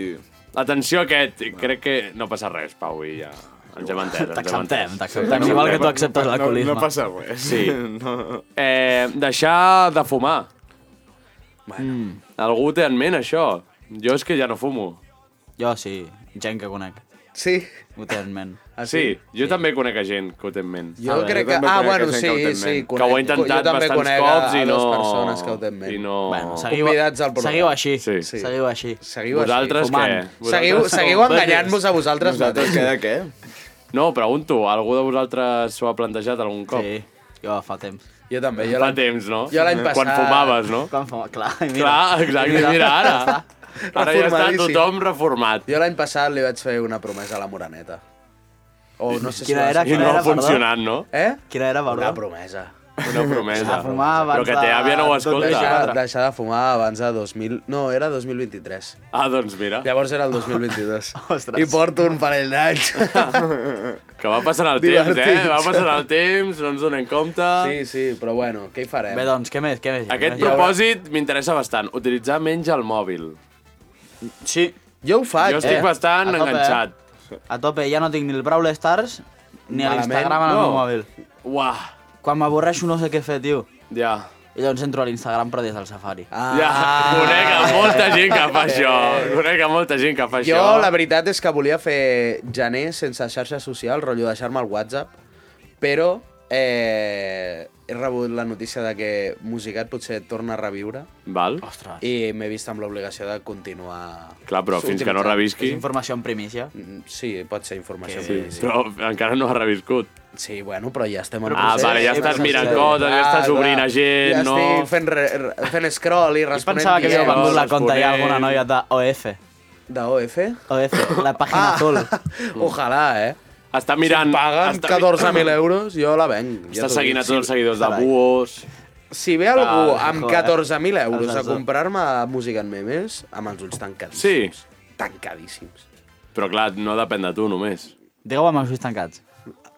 S2: Atenció a aquest, crec que no passa res, Pau, i ja... Ens hem entès, ens hem
S7: T'acceptem,
S2: entès.
S7: t'acceptem. Igual que tu acceptes
S9: no-
S7: l'alcoholisme.
S9: No, no passa res.
S2: Sí.
S9: No.
S2: Eh, deixar de fumar. Mm.
S8: Bueno,
S2: Algú té en ment això. Jo és que ja no fumo.
S7: Jo sí, gent que conec.
S8: sí.
S7: Ho té en ment.
S8: Ah,
S2: Sí, jo també conec a gent que ho té en ment.
S8: Jo
S7: veure,
S8: crec
S9: jo
S8: que...
S9: també
S8: Ah,
S9: conec
S8: bueno,
S9: gent que ho té
S8: sí,
S9: en
S8: sí.
S9: ment.
S8: Conec,
S2: que ho he intentat
S8: jo també
S2: bastants
S8: conec a,
S2: cops i
S8: a
S2: no...
S8: dues persones que ho tenen
S2: I
S8: ment.
S2: no...
S7: Bueno, seguiu,
S8: Convidats al programa.
S7: seguiu així.
S2: Sí.
S7: Seguiu així.
S8: Seguiu
S2: Vosaltres
S8: així.
S2: què?
S8: fumant.
S2: Vosaltres
S8: Seguiu,
S2: com?
S8: seguiu enganyant-vos a vosaltres
S9: Nosaltres
S8: mateixos.
S9: què de què?
S2: No, pregunto, algú de vosaltres s'ho ha plantejat algun cop?
S7: Sí, jo fa temps.
S8: Jo també. Jo
S2: Fa
S8: l'any-
S2: temps, no?
S8: jo l'any
S2: Quan
S8: passat-
S2: fumaves, no?
S7: Com fa... Clar, i mira.
S2: Clar, exacte, mira, ara. Ara ja està
S8: Reformadíssim.
S2: tothom reformat.
S8: jo l'any passat li vaig fer una promesa a la Moraneta. O no sé si...
S7: Quina
S8: la-
S7: era?
S2: I no
S7: Quina
S2: ha
S7: perdó?
S2: funcionat, no?
S8: Eh?
S7: Quina era,
S8: Una
S7: perdó?
S8: promesa.
S2: Una promesa.
S7: De fumar abans
S2: Però que té
S7: de-
S2: àvia no ho
S7: tot
S2: escolta.
S8: Deixar, deixar de fumar abans de 2000... No, era 2023.
S2: Ah, doncs mira,
S8: Llavors era el 2022.
S7: Ostres.
S8: I porto un parell d'anys.
S2: que va passant el temps, eh?
S8: Divertits.
S2: Va passant el temps, no ens donem compte.
S8: sí, sí, però bueno, què hi farem?
S7: Bé, doncs, què més? Què més? Què
S2: Aquest
S7: més?
S2: propòsit m'interessa bastant, utilitzar menys el mòbil.
S7: Sí,
S8: Jo ho faig,
S2: Jo estic
S8: eh?
S2: bastant
S7: a tope,
S2: enganxat.
S7: a tope. Ja no tinc ni el Brawl Stars ni
S8: Malament.
S7: l'Instagram en el
S2: No.
S7: meu mòbil.
S2: Uah,
S7: Quan m'avorreixo no sé què fer, tio.
S2: ja.
S7: I llavors entro a l'Instagram però des del Safari. Ah.
S2: Ja, conec a molta gent que fa això. Conec a molta gent que fa
S8: Eh. Jo,
S2: això.
S8: la veritat és que volia fer gener sense xarxa social, rotllo deixar-me el WhatsApp, però eh, he rebut la notícia de que Musicat potser torna a reviure
S2: Val?
S7: Ostres,
S8: i m'he vist amb l'obligació de continuar...
S2: Ah, Clar, però fins que no
S8: utilitzant.
S7: és
S2: revisqui...
S7: informació en primícia.
S8: Mm, Sí, pot ser informació.
S7: Que-
S8: Sí, sí.
S2: Però encara no ha reviscut.
S8: sí, bueno, però ja estem en
S2: Ah,
S8: procés.
S2: vale, ja
S8: Sí,
S2: estàs
S8: sí,
S2: mirant
S8: sí.
S2: coses, ja
S8: Ah,
S2: estàs obrint
S8: clar.
S2: a gent,
S8: ja
S2: no?
S8: estic fent, re, re- fent scroll i
S7: Jo
S8: responent
S7: pensava que havia
S2: dies,
S7: vengut la
S2: responent.
S7: conta ja alguna noia d'OF.
S8: de OF.
S7: OF, la pàgina azul.
S2: Mm.
S8: Ojalà, eh?
S2: Està mirant...
S8: Paguen
S2: està,
S8: 14.000 euros, jo la venc.
S2: Està
S8: t'ho
S2: seguint a
S8: dic.
S2: tots els seguidors de
S7: carai.
S2: Buos...
S8: Si ve algú
S7: Ah,
S8: amb
S7: joder.
S8: 14.000 euros
S7: Els
S8: a
S7: has de-
S8: comprar-me música en memes, amb els ulls tancadíssims.
S2: Sí,
S8: Tancadíssims.
S2: però clar, no depèn de tu només.
S7: Digueu amb els ulls tancats.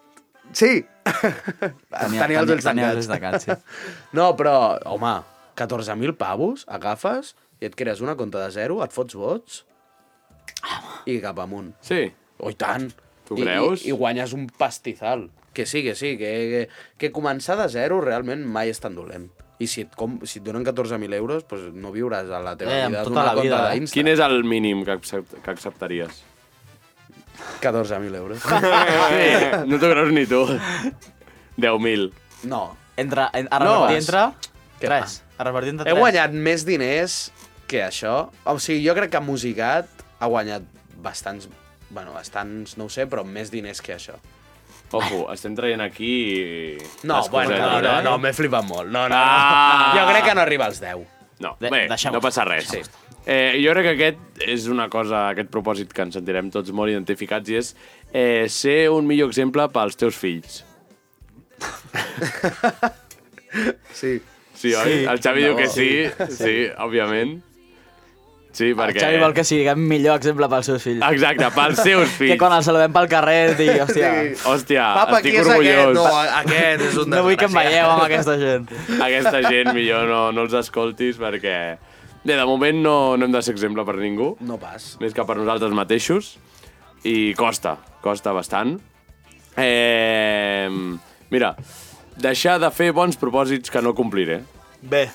S8: Sí! Tenia, tenia els ulls
S7: Tenia els ulls tancats,
S8: tancats.
S7: sí.
S8: No, però, home, 14.000 pavos, agafes i et crees una compta de zero, et fots vots i cap amunt.
S2: Sí.
S8: Oh, i tant.
S2: Tu
S8: I,
S2: creus?
S8: I, I guanyes un pastizal. Que sí, que sí, que, que, que començar de zero realment mai és tan dolent. I si et, com, si et donen 14.000 euros, pues no viuràs a la teva
S7: Eh, amb
S8: vida
S7: tota
S8: d'una
S7: la
S8: compta
S7: vida, eh?
S8: d'Insta.
S2: Quin és el mínim que, accept, que acceptaries?
S8: 14.000 euros.
S2: Eh, no t'ho creus ni tu. 10.000.
S8: No.
S7: Entra, en, a
S8: No
S7: repartir
S8: vas.
S7: entra...
S8: Què
S7: Tres. A repartir entre
S8: He
S7: tres.
S8: guanyat més diners que això. O sigui, jo crec que Musicat ha guanyat bastants... Bueno, bastants, no ho sé, però més diners que això.
S2: Ojo, estem traient aquí...
S8: No,
S2: les
S8: bueno, no,
S2: cosetes,
S8: no,
S2: eh?
S8: no m'he flipat molt. No, no, no.
S2: Ah!
S8: Jo crec que no arriba als 10.
S2: No,
S7: De-
S2: bé,
S7: deixem-ho.
S2: no passa res.
S7: Sí.
S2: Eh, jo crec que aquest és una cosa, aquest propòsit que ens sentirem tots molt identificats i és eh, ser un millor exemple pels teus fills.
S8: Sí.
S2: Sí, oi? El Xavi diu
S8: No.
S2: que sí, sí, òbviament. Sí, perquè...
S7: El Xavi vol que siguem millor exemple pels seus fills.
S2: Exacte, pels seus
S7: Que
S2: fills.
S7: quan el saludem pel carrer digui, hòstia,
S2: Hòstia,
S8: Papa, qui
S2: estic
S8: és
S2: orgullós.
S8: aquest? No, aquest és un
S7: no vull que em
S8: desgraciat.
S7: veieu amb aquesta gent.
S2: Aquesta gent millor no, no els escoltis perquè... Bé, de moment no, no hem de ser exemple per ningú,
S8: No pas.
S2: més que per nosaltres mateixos, i costa, costa bastant. Eh, mira, deixar de fer bons propòsits que no compliré.
S7: Bé,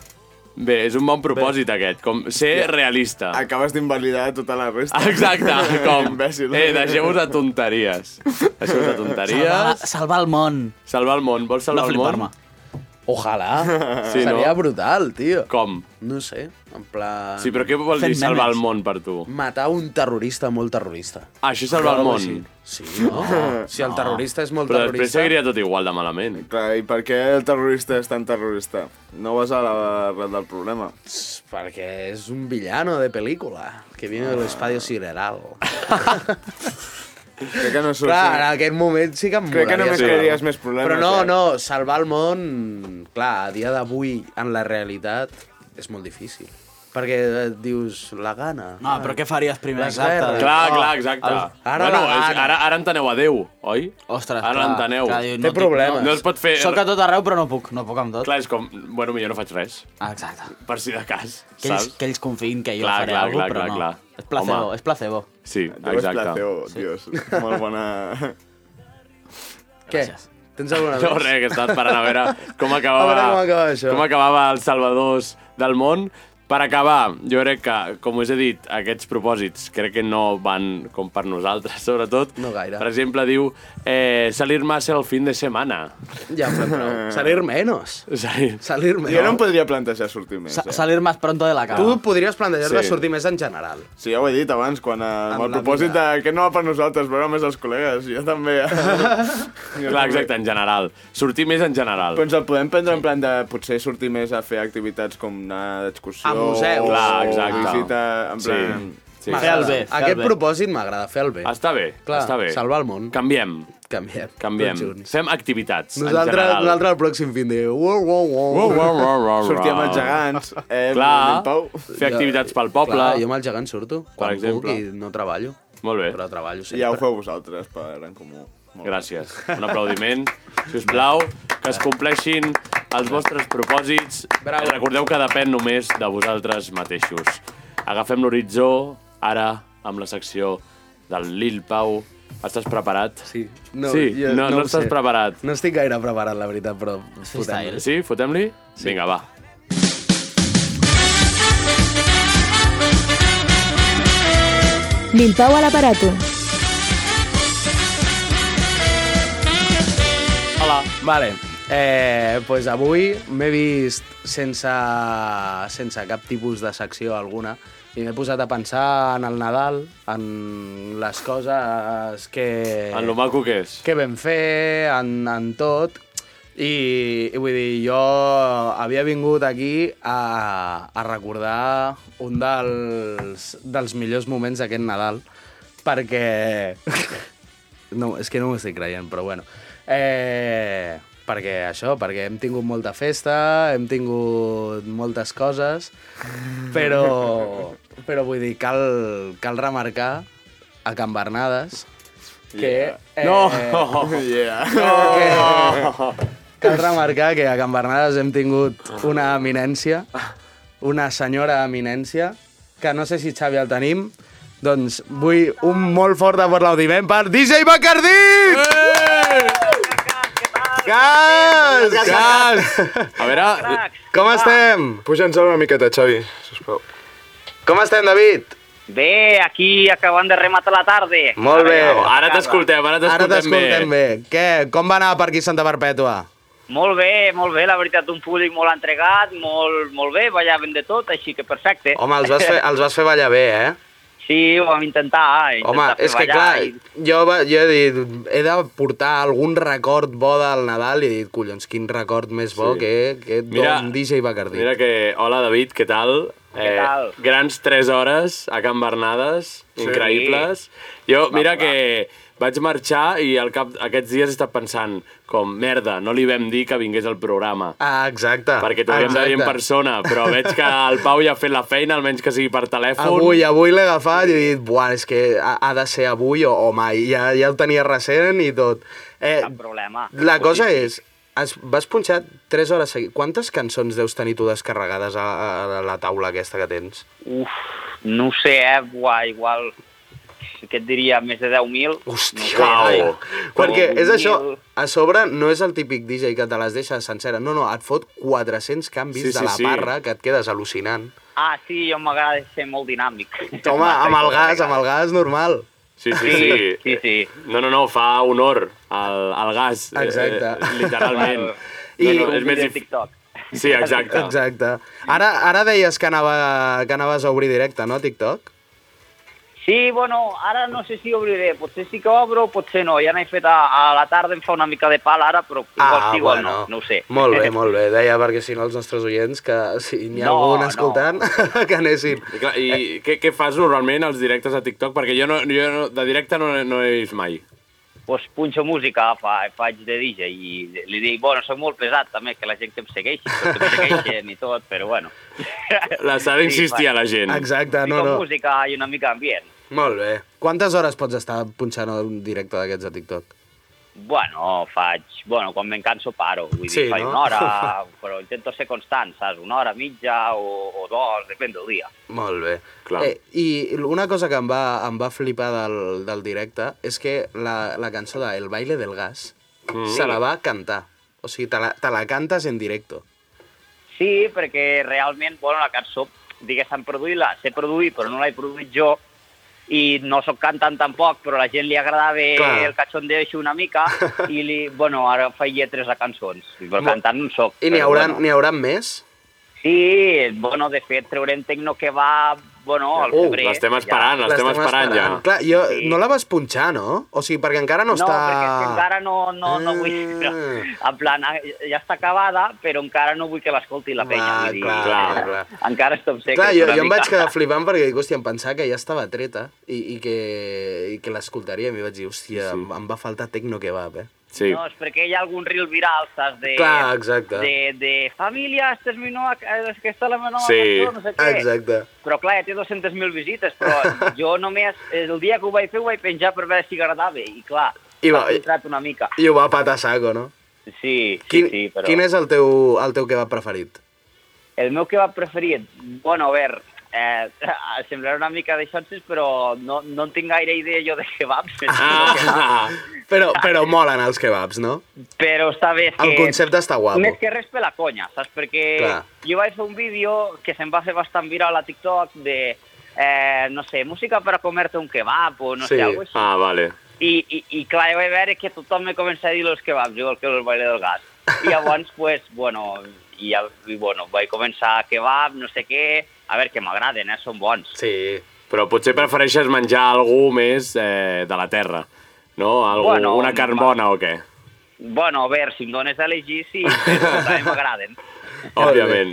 S2: Bé, és un bon propòsit Bé. aquest, com ser realista.
S9: Acabes d'invalidar tota la resta.
S2: Exacte, com...
S9: Imbècil.
S2: Eh, deixeu-vos de tonteries. Deixeu-vos de
S7: salvar,
S2: tonteries.
S7: salvar el món,
S2: Salvar el món. Vols
S7: no
S2: salvar el món?
S7: flipar-me.
S8: Ojalà.
S2: Sí,
S8: Sí,
S2: no?
S8: Seria brutal, tio.
S2: Com?
S8: No sé, en plan...
S2: Sí, però què vol
S7: Fent
S2: dir salvar
S7: memes.
S2: el món per tu?
S8: Matar un terrorista molt terrorista.
S2: Ah, això és salvar el món.
S8: Sí, no? Si el terrorista és molt
S2: Però després
S8: terrorista...
S2: seguiria tot igual de malament.
S9: Clar, i per què el terrorista és tan terrorista? No vas a l'arrel del problema.
S8: Perquè és un villano de pel·lícula, que viene de l'espacio sideral.
S9: Crec que no surt...
S8: Clar, en aquest moment sí que em
S9: Crec que
S8: molaria
S9: només
S8: salvar-
S9: crearies més problemes,
S8: Però no,
S9: eh?
S8: no, salvar el món, clar, a dia d'avui, en la realitat, és molt difícil. Perquè eh, dius, la gana.
S7: No, però què faries primer?
S8: Les
S7: Exacte.
S8: guerres.
S2: Clar,
S7: Oh,
S2: clar, exacte.
S7: el-
S8: ara
S2: bueno,
S8: la
S2: és-
S8: gana.
S2: ara, ara enteneu a Déu, oi?
S7: Ostres,
S2: ara
S7: clar,
S2: l'enteneu.
S7: clar, diu,
S8: Té
S7: tinc-
S8: problemes.
S2: No es pot fer...
S7: Soc a tot arreu, però no puc, no puc amb tot.
S2: Clar, és com... Bueno, millor no faig res,
S7: Ah, exacte.
S2: per si de cas,
S7: Que ells,
S2: saps?
S7: que ells confiïn que jo
S2: Clar,
S7: faré
S2: clar,
S7: alguna
S2: clar,
S7: cosa, però
S2: clar,
S7: no.
S2: clar.
S7: És placebo,
S2: Home.
S7: és placebo.
S2: Sí,
S9: Déu és
S2: exacte.
S9: placebo, dios. Molt bona...
S8: Què?
S7: Gràcies.
S8: Tens alguna
S2: No, res, que estava esperant a veure com acabava,
S8: A veure com acaba això.
S2: com acabava els salvadors del món. Per acabar, jo crec que, com us he dit, aquests propòsits crec que no van com per nosaltres, sobretot.
S8: No gaire.
S2: Per exemple, diu eh, salir más el fin de semana.
S8: Ja ho fem prou. Salir menos.
S2: Salir...
S8: Salir
S9: Jo no em
S8: menos.
S9: podria plantejar sortir més,
S7: Sa
S9: eh?
S7: salir más pronto de la
S10: Ah.
S7: cama.
S8: Tu podries plantejar-te
S9: Sí.
S8: sortir més en general.
S9: Sí, ja ho he dit abans, quan eh, amb el
S8: la
S9: propòsit
S8: vida.
S9: de que no va per nosaltres, però més els col·legues, jo també. jo
S2: Clar, exacte, en general. Sortir més en general.
S9: Però ens el podem prendre en plan de potser sortir més a fer activitats com anar d'excursió...
S8: A museus.
S9: o
S2: Clar, exacte.
S9: Visita, en plan...
S2: Sí. sí.
S7: Fer el bé, fer el
S8: Aquest
S7: bé.
S8: propòsit m'agrada, fer el bé.
S2: Està bé,
S8: Clar,
S2: està bé.
S8: salvar el món.
S2: Canviem,
S8: Canviem.
S2: canviem.
S8: Tots junts.
S2: Fem activitats, en
S8: Nosaltres,
S2: general.
S8: nosaltres el pròxim fin de... Uau, uau, uau.
S2: Uau, uau, uau, uau,
S9: Sortir amb els
S2: uau.
S9: gegants, eh,
S2: Clar,
S9: en Pau.
S2: fer activitats pel poble.
S8: Clar, jo amb el gegant surto. Quan puc
S2: exemple.
S8: i no treballo.
S2: Molt bé.
S8: Però treballo sempre.
S9: Ja ho feu vosaltres, per en comú. Molt bé.
S2: Gràcies. Un aplaudiment, si us plau, que es compleixin els vostres propòsits.
S8: Bravo.
S2: Recordeu que depèn només de vosaltres mateixos. Agafem l'horitzó ara amb la secció del Lil Pau. Estàs preparat?
S8: Sí.
S2: sí. no, no,
S8: ho
S2: estàs
S8: sé.
S2: preparat.
S8: No estic gaire preparat, la veritat, però...
S7: Freestyle.
S2: Sí? Fotem-li? Vinga, va.
S4: Lil Pau a l'aparato.
S2: Hola.
S8: Vale. Eh, pues avui m'he vist sense, sense cap tipus de secció alguna i m'he posat a pensar en el Nadal, en les coses que...
S2: En lo maco que és.
S8: què vam fer, en, en tot. I, I vull dir, jo havia vingut aquí a, a recordar un dels, dels millors moments d'aquest Nadal, perquè... No, és que no m'ho estic creient, però bueno. Eh, perquè això, perquè hem tingut molta festa, hem tingut moltes coses, però, però vull dir, cal, cal remarcar a Can Bernades que... Eh,
S2: No!
S9: Yeah.
S8: que, cal remarcar que a Can Bernades hem tingut una eminència, una senyora eminència, que no sé si Xavi el tenim, doncs vull un molt fort aplaudiment per DJ Bacardí!
S9: Eh! Gas! Gas!
S2: A veure,
S8: Com estem?
S9: Puja'ns una miqueta, Xavi, sisplau.
S8: Com estem, David?
S12: Bé, aquí acabant de rematar la tarda.
S8: Molt bé.
S2: ara t'escoltem, ara
S8: Ara
S2: t'escoltem
S8: t'escoltem
S2: bé.
S8: bé. Què? Com va anar per aquí Santa Perpètua?
S12: Molt bé, molt bé, la veritat, un públic molt entregat, molt, molt bé, ballaven de tot, així que perfecte.
S8: Home, els vas fer, els vas fer ballar bé, eh?
S12: Sí, ho vam intentar. eh, intentar
S8: Home,
S12: fer
S8: és que
S12: ballar
S8: clar,
S12: i-
S8: jo, va- jo he dit, he de portar algun record bo del Nadal i he dit, collons, quin record més bo sí. que, que
S2: Mira-
S8: mira, un DJ Bacardí.
S2: Mira que... Hola, David, què tal? Eh,
S12: Què tal?
S2: Grans 3 hores a Can Bernades, increïbles. Jo, mira que vaig marxar i al cap aquests dies he estat pensant com, merda, no li vam dir que vingués al programa.
S8: Ah, exacte.
S2: Perquè t'ho havíem de dir en
S8: exacte.
S2: persona, però veig que el Pau ja ha fet la feina, almenys que sigui per telèfon.
S8: Avui, avui l'he agafat i he dit, buah, és que ha, ha de ser avui o, o mai. Ja, ja el tenia recent i tot. Eh,
S12: Cap problema.
S8: la cosa és, has, vas punxar 3 hores seguides. Quantes cançons deus tenir tu descarregades a, a, a la taula aquesta que tens?
S12: Uf, no ho sé, eh, buà, igual, què et diria, més de 10.000?
S8: Hòstia,
S12: No ho sé.
S8: ai.
S2: Pau.
S8: Perquè
S12: Pau.
S8: és això, a sobre no és el típic DJ que te les deixa sencera, no, no, et fot 400 canvis
S2: Sí,
S8: sí,
S2: sí,
S8: sí, de la
S2: sí.
S8: parra que et quedes al·lucinant.
S12: Ah, sí, jo m'agrada ser molt dinàmic.
S8: Home, amb el gas, amb el gas, normal.
S2: Sí, sí, sí.
S12: Sí, sí.
S2: No, no, no, fa honor al, al gas. eh,
S8: Exacte.
S2: Eh, literalment.
S8: I-
S2: no, no, és més...
S12: de
S2: dif-
S12: TikTok.
S2: Sí, exacte.
S8: Exacte. Ara, ara deies que, anava, que anaves a obrir directe, no, TikTok?
S12: Sí, bueno, ara no sé si obriré, potser sí que obro, potser no, ja n'he fet a, a la tarda, em fa una mica de pal ara, però igual sí, igual no, no ho sé.
S8: Ah, Molt bé, molt bé. Deia, perquè si no els nostres oients, que si n'hi ha
S12: No,
S8: algun
S12: no.
S8: escoltant, que anessin.
S2: I, clar, i què, què fas normalment als directes a TikTok? Perquè jo, no, jo no, de directe no, no he vist mai.
S10: pues, punxo música, fa, faig de DJ i li dic, bueno, soc molt pesat també, que la gent que em segueixi, que em segueixen i tot, però bueno.
S2: Les ha d'insistir
S10: Sí,
S2: a la gent.
S8: Exacte, no,
S10: Fico
S8: no.
S10: música i una mica ambient.
S8: Molt bé. Quantes hores pots estar punxant un directe d'aquests a TikTok?
S10: Bueno, faig... Bueno, quan me'n canso paro, vull dir,
S8: Sí,
S10: faig
S8: no?
S10: una hora, però intento ser constant, saps? Una hora mitja o, o dos, depèn del dia.
S8: Molt bé. Eh, I una cosa que em va, em va flipar del, del directe és que la, la cançó de El baile del gas
S10: Mm.
S8: mm. se la va cantar. O sigui, te la, te la cantes en directo.
S10: Sí, perquè realment, bueno, la cançó, diguéssim, produir-la, sé produir, però no l'he produït jo, i no sóc cantant tampoc, però a la gent li agradava
S8: Clar.
S10: el cachondeo així una mica, i li, bueno, ara faig lletres a cançons, però
S8: Mo-
S10: cantant no en soc.
S8: I n'hi
S10: però
S8: haurà,
S10: bueno.
S8: bueno. haurà més?
S10: Sí, bueno, de fet, treurem Tecno que va, bueno, al
S8: Uh,
S10: febrer.
S2: l'estem esperant, l'estem esperant, ja.
S8: Clar, jo, no la vas punxar, no? O sigui, perquè encara no,
S10: No,
S8: està...
S10: perquè és que encara no, no, no vull...
S8: Eh.
S10: Però, en plan, ah, ja està acabada, però encara no vull que l'escolti la penya. vull dir,
S8: Ah, clar, clar, clar.
S10: Encara estem secs.
S8: Clar, jo,
S10: una
S8: jo em
S10: mica.
S8: vaig quedar flipant perquè dic, hòstia, em pensava que ja estava treta i, i que, i que l'escoltaríem i vaig dir, hòstia, sí. em, em va faltar Tecno Kebab, eh?
S2: Sí.
S10: No, és perquè hi ha algun reel viral, saps? De,
S8: Clar, exacte.
S10: De, de família, esta és mi nova, ca- és que esta la meva nova
S8: Sí.
S10: cançó, no sé què.
S8: Exacte.
S10: Però clar, ja té 200.000 visites, però jo només, eh, el dia que ho vaig fer, ho vaig penjar per veure si agradava, i clar,
S8: I
S10: I
S8: va-
S10: va, entrat una mica.
S8: I ho va patar saco, no?
S10: Sí, sí,
S8: Quin,
S10: sí, però...
S8: quin és el teu, el teu kebab preferit?
S10: El meu que va preferit, bueno, a veure, eh, semblarà una mica de xonxes, però no, no en tinc gaire idea jo de kebabs.
S8: Ah. Però, però molen els kebabs, no?
S10: Però està bé, és
S8: El
S10: que...
S8: concepte està guapo.
S10: Més que res per la conya, saps? Perquè
S8: Clar.
S10: jo vaig fer un vídeo que se'm va fer bastant viral a TikTok de, eh, no sé, música per a comer-te un kebab o no sé, alguna cosa així.
S2: Ah, vale.
S10: I, i, I clar, jo vaig veure que tothom me comença a dir els kebabs, igual que el baile del gas. I llavors, pues, bueno, i, ja, i bueno, vaig començar kebab, no sé què, a veure, que m'agraden, eh, són bons.
S8: Sí.
S2: Però potser prefereixes menjar algú més eh, de la terra, no? Algú,
S10: Bueno,
S2: bueno, una carn
S10: va.
S2: bona o què?
S10: Bueno, a veure, si em dones a elegir, sí, però també m'agraden.
S2: Òbviament.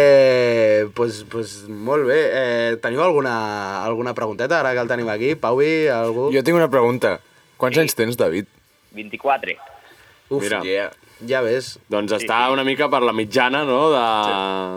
S8: Eh, pues, pues molt bé. Eh, teniu alguna, alguna pregunteta ara que el tenim aquí? Pauvi, algú?
S12: Jo tinc una pregunta. Quants sí. anys tens, David?
S10: 24.
S8: Uf,
S2: Mira.
S8: yeah. ja ves.
S2: Doncs està una mica per la mitjana, no?, de,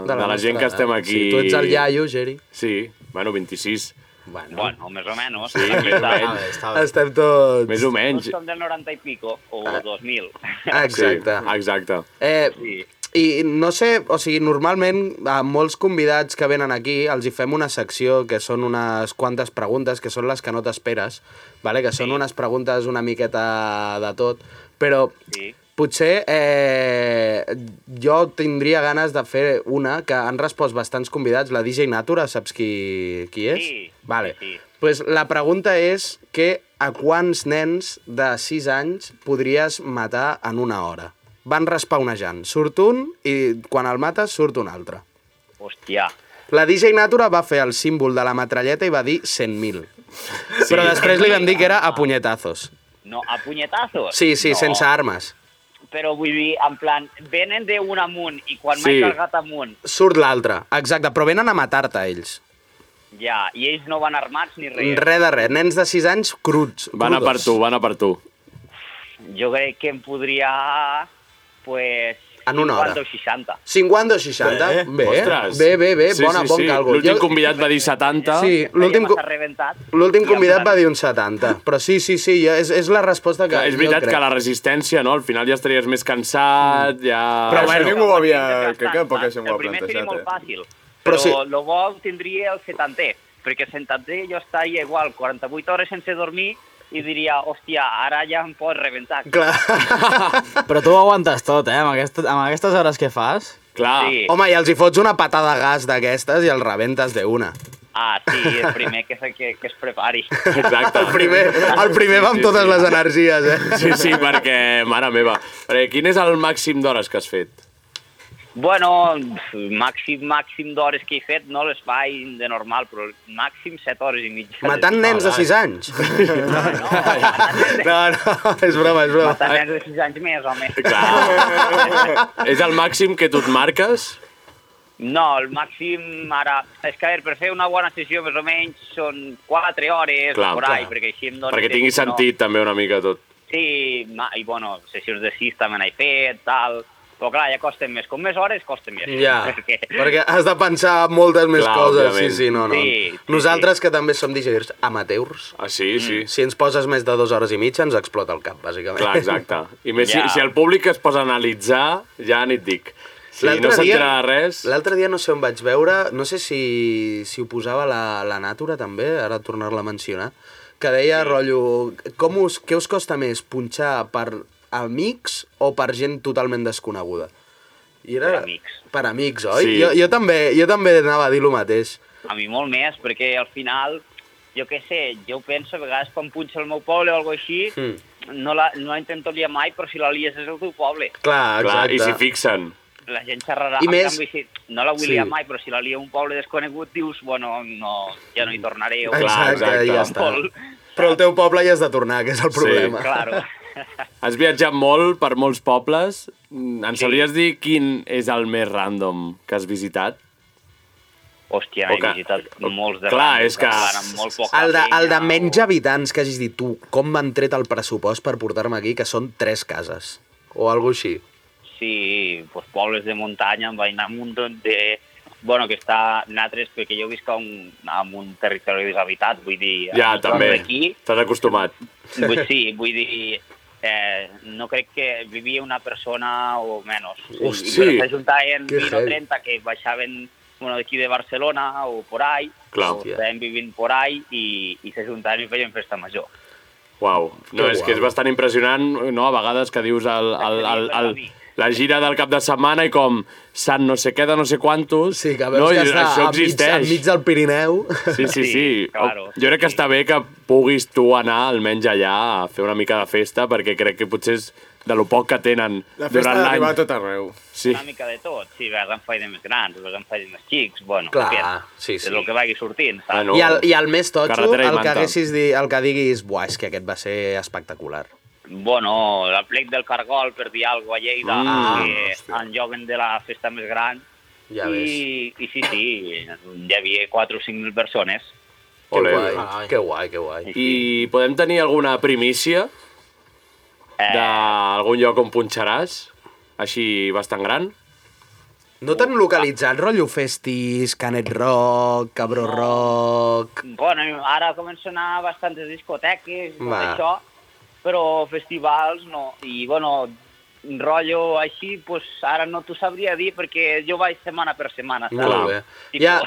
S2: de, la,
S8: nostra
S2: gent que
S8: edat.
S2: estem aquí.
S8: Sí, tu ets el iaio, Geri.
S2: Sí, bueno, 26.
S8: Bueno,
S10: bueno més o menys.
S2: Sí, més o menys.
S8: Estem tots...
S2: Més o
S10: Tots
S2: menys.
S10: som del 90 i pico, o
S12: Ah.
S10: 2000.
S8: Exacte.
S2: Sí, exacte.
S8: Eh, I no sé, o sigui, normalment a molts convidats que venen aquí els hi fem una secció que són unes quantes preguntes, que són les que no t'esperes, vale? que són unes preguntes una miqueta de tot, però
S10: sí.
S8: potser eh, jo tindria ganes de fer una que han respost bastants convidats, la DJ Natura, saps qui, qui és?
S10: Sí,
S8: Vale.
S10: sí, sí.
S8: Pues la pregunta és que a quants nens de 6 anys podries matar en una hora? Van respawnejant. Surt un i quan el mates surt un altre.
S10: Hòstia.
S8: La DJ Natura va fer el símbol de la metralleta i va dir 100.000. Sí. Però després li van dir que era a punyetazos.
S10: No, a punyetazos?
S8: Sí, sí,
S10: no.
S8: no. sense armes.
S10: Però vull dir, en plan, venen d'un amunt i quan
S8: Sí.
S10: sí. m'he cargat amunt,
S8: Surt l'altre, exacte, però venen a matar-te ells.
S10: ja, i ells no van armats ni res.
S8: Re de res, nens de 6 anys cruts.
S2: Van a per tu, van a per tu.
S10: Jo crec que em podria, pues...
S8: En una hora.
S10: 50 o 60.
S8: 50 o 60?
S10: Bé.
S8: Bé,
S2: Ostres.
S8: bé, bé, bé.
S2: Sí,
S8: bona,
S2: sí,
S8: bon
S2: sí.
S8: càlcul.
S2: L'últim
S8: Jo-
S2: convidat va dir 70.
S8: Sí, l'últim co-
S10: S'ha rebentat.
S8: l'últim convidat va dir un 70, però sí, sí, sí, jo, és, és la resposta que
S2: Que és veritat
S8: jo crec.
S2: que la resistència, no? Al final ja estaries més cansat, ja...
S12: Però bueno, ningú ho havia... Crec Ah, que poca
S10: saps?
S12: gent ho ha
S10: El primer seria molt
S12: plantejat, eh?
S10: fàcil,
S12: Però
S10: però,
S12: sí.
S10: lo bo ho tindria el 70 perquè el 70 jo estaria igual 48 hores sense dormir i diria, hòstia, ara ja em pots rebentar.
S13: Però tu ho aguantes tot, eh? Amb, aquest, amb aquestes hores que fas.
S2: Clar.
S10: Sí.
S8: Home, i els hi fots una patada de gas d'aquestes i els rebentes d'una.
S10: Ah, sí, el primer que, se- que, que es prepari.
S2: Exacte.
S8: El primer, el primer va amb totes les energies, eh?
S2: Sí, sí, perquè, mare meva, perquè quin és el màxim d'hores que has fet?
S10: Bueno, Doncs, màxim, màxim d'hores que he fet, no l'espai de normal, però màxim 7 hores i mitja.
S2: Ah,
S8: Matant nens de 6 anys. No, no, és broma, és broma.
S10: Matant nens de 6 anys més, home.
S2: Clar. És el màxim que tu et marques?
S10: No, el màxim ara... És que, a veure, per fer una bona sessió més o menys són 4 hores,
S2: Clar,
S10: por ahí,
S2: clar.
S10: perquè així em dona...
S2: Perquè
S10: temps,
S2: tingui
S10: no?
S2: sentit també una mica tot.
S10: Sí, ma- i bueno, sessions de sis també n'he fet, tal... Però clar, ja costen més. Com més hores, costa més.
S8: Ja, perquè has de pensar moltes més
S10: Clar,
S8: coses.
S10: òbviament.
S8: Sí, sí, no, no.
S10: Sí, sí,
S8: Nosaltres, que també som DJs amateurs...
S14: Ah, sí,
S10: Mm.
S14: sí.
S8: Si ens poses més de dues hores i mitja, ens explota el cap, bàsicament.
S14: Clar, exacte. I més, si, si el públic es posa a analitzar, ja ni et dic. Si no sentirà res...
S8: L'altre dia no sé on vaig veure, no sé si, si ho posava la, la Natura també, ara tornar-la a mencionar, que deia, rotllo, com us, què us costa més, punxar per amics o per gent totalment desconeguda? I era... Per amics. Per amics, oi?
S10: Sí.
S8: Jo, jo, també, jo també anava a dir el mateix.
S10: A mi molt més, perquè al final, jo què sé, jo penso a vegades quan punxa el meu poble o alguna així,
S8: Mm.
S10: no la, no la intento liar mai, però si la lies és el teu poble.
S8: Clar,
S14: Clar,
S8: exacte.
S14: i s'hi fixen.
S10: La gent xerrarà,
S8: I
S10: en
S8: més-
S10: canvi, si no la vull
S8: Sí.
S10: liar mai, però si la lia un poble desconegut, dius, bueno, no, ja no hi tornaré. O,
S8: Exacte, ja està.
S10: Vol-
S8: Però el teu poble hi has de tornar, que és el problema.
S10: Claro.
S2: Has viatjat molt per molts pobles. Mm, Ens sí. sabries dir quin és el més random que has visitat?
S10: Hòstia,
S2: O
S10: he visitat molts de
S2: Clar,
S10: randos,
S2: és que...
S10: en plan, amb molt poca
S8: El de, el de
S10: penya,
S8: menys habitants que hagis dit tu, com m'han tret el pressupost per portar-me aquí, que són tres cases, o alguna així.
S10: Sí, pues pobles de muntanya, em vaig anar a un munt de... Bueno, que està nosaltres, perquè jo visc a un, en un territori deshabitat, vull dir...
S2: Ja,
S10: en
S2: també.
S10: doncs Aquí,
S2: T'has acostumat.
S10: vull, sí, vull dir... Eh, no crec que vivia una persona o menys.
S2: Hosti,
S10: Però S'ajuntaven
S2: que
S10: 20 o
S2: heavy.
S10: 30 que baixaven bueno, d'aquí de Barcelona o por ahí,
S2: Clar.
S10: o estaven vivint por ahí i, i s'ajuntaven i feien festa major.
S2: Uau. No,
S10: Que
S2: és que és
S10: guau.
S2: bastant impressionant, no? A vegades que dius el, el, el, el, la gira del cap de setmana i com sant no sé què de no sé quantos... Sí, que
S8: Veus
S2: no, i
S8: que
S2: dius,
S8: està
S2: això
S8: enmig,
S2: existeix.
S8: enmig del Pirineu.
S2: Sí, sí, sí.
S8: claro.
S2: jo crec que està bé que puguis tu anar almenys allà a fer una mica de festa, perquè crec que potser és de lo poc que tenen
S10: La
S2: durant
S10: festa ha
S2: l'any.
S10: d'arribar a tot
S14: arreu.
S2: Sí.
S10: Una mica de tot, sí, a vegades em faig de més grans, a vegades em faig de més xics, bueno,
S8: Clar,
S10: aviam,
S8: sí, sí.
S10: és el que vagi sortint,
S2: Ah,
S10: saps?
S8: I, el, I el més totxo,
S10: Carretera i
S8: el que,
S10: manta.
S8: haguessis di, el que diguis, buah, és que aquest va ser espectacular.
S10: Bueno, el plec del Cargol, per dir alguna cosa, a Lleida,
S8: Mm.
S10: que en joguen de la festa més gran,
S8: Ja
S10: I, i sí, sí, hi havia 4 o 5.000 persones.
S2: Ole.
S8: guai, que guai, que guai.
S2: I podem tenir alguna primícia d'algun lloc on punxaràs? Així bastant gran?
S8: No t'han localitzat, rotllo festis, canet rock, cabró rock...
S10: Bueno, ara comencen a anar bastantes discoteques i tot
S8: Va.
S10: això, però festivals no. I, bueno, rotllo així, pues, ara no t'ho sabria dir perquè jo vaig setmana per setmana, saps?
S8: Molt bé. Ja,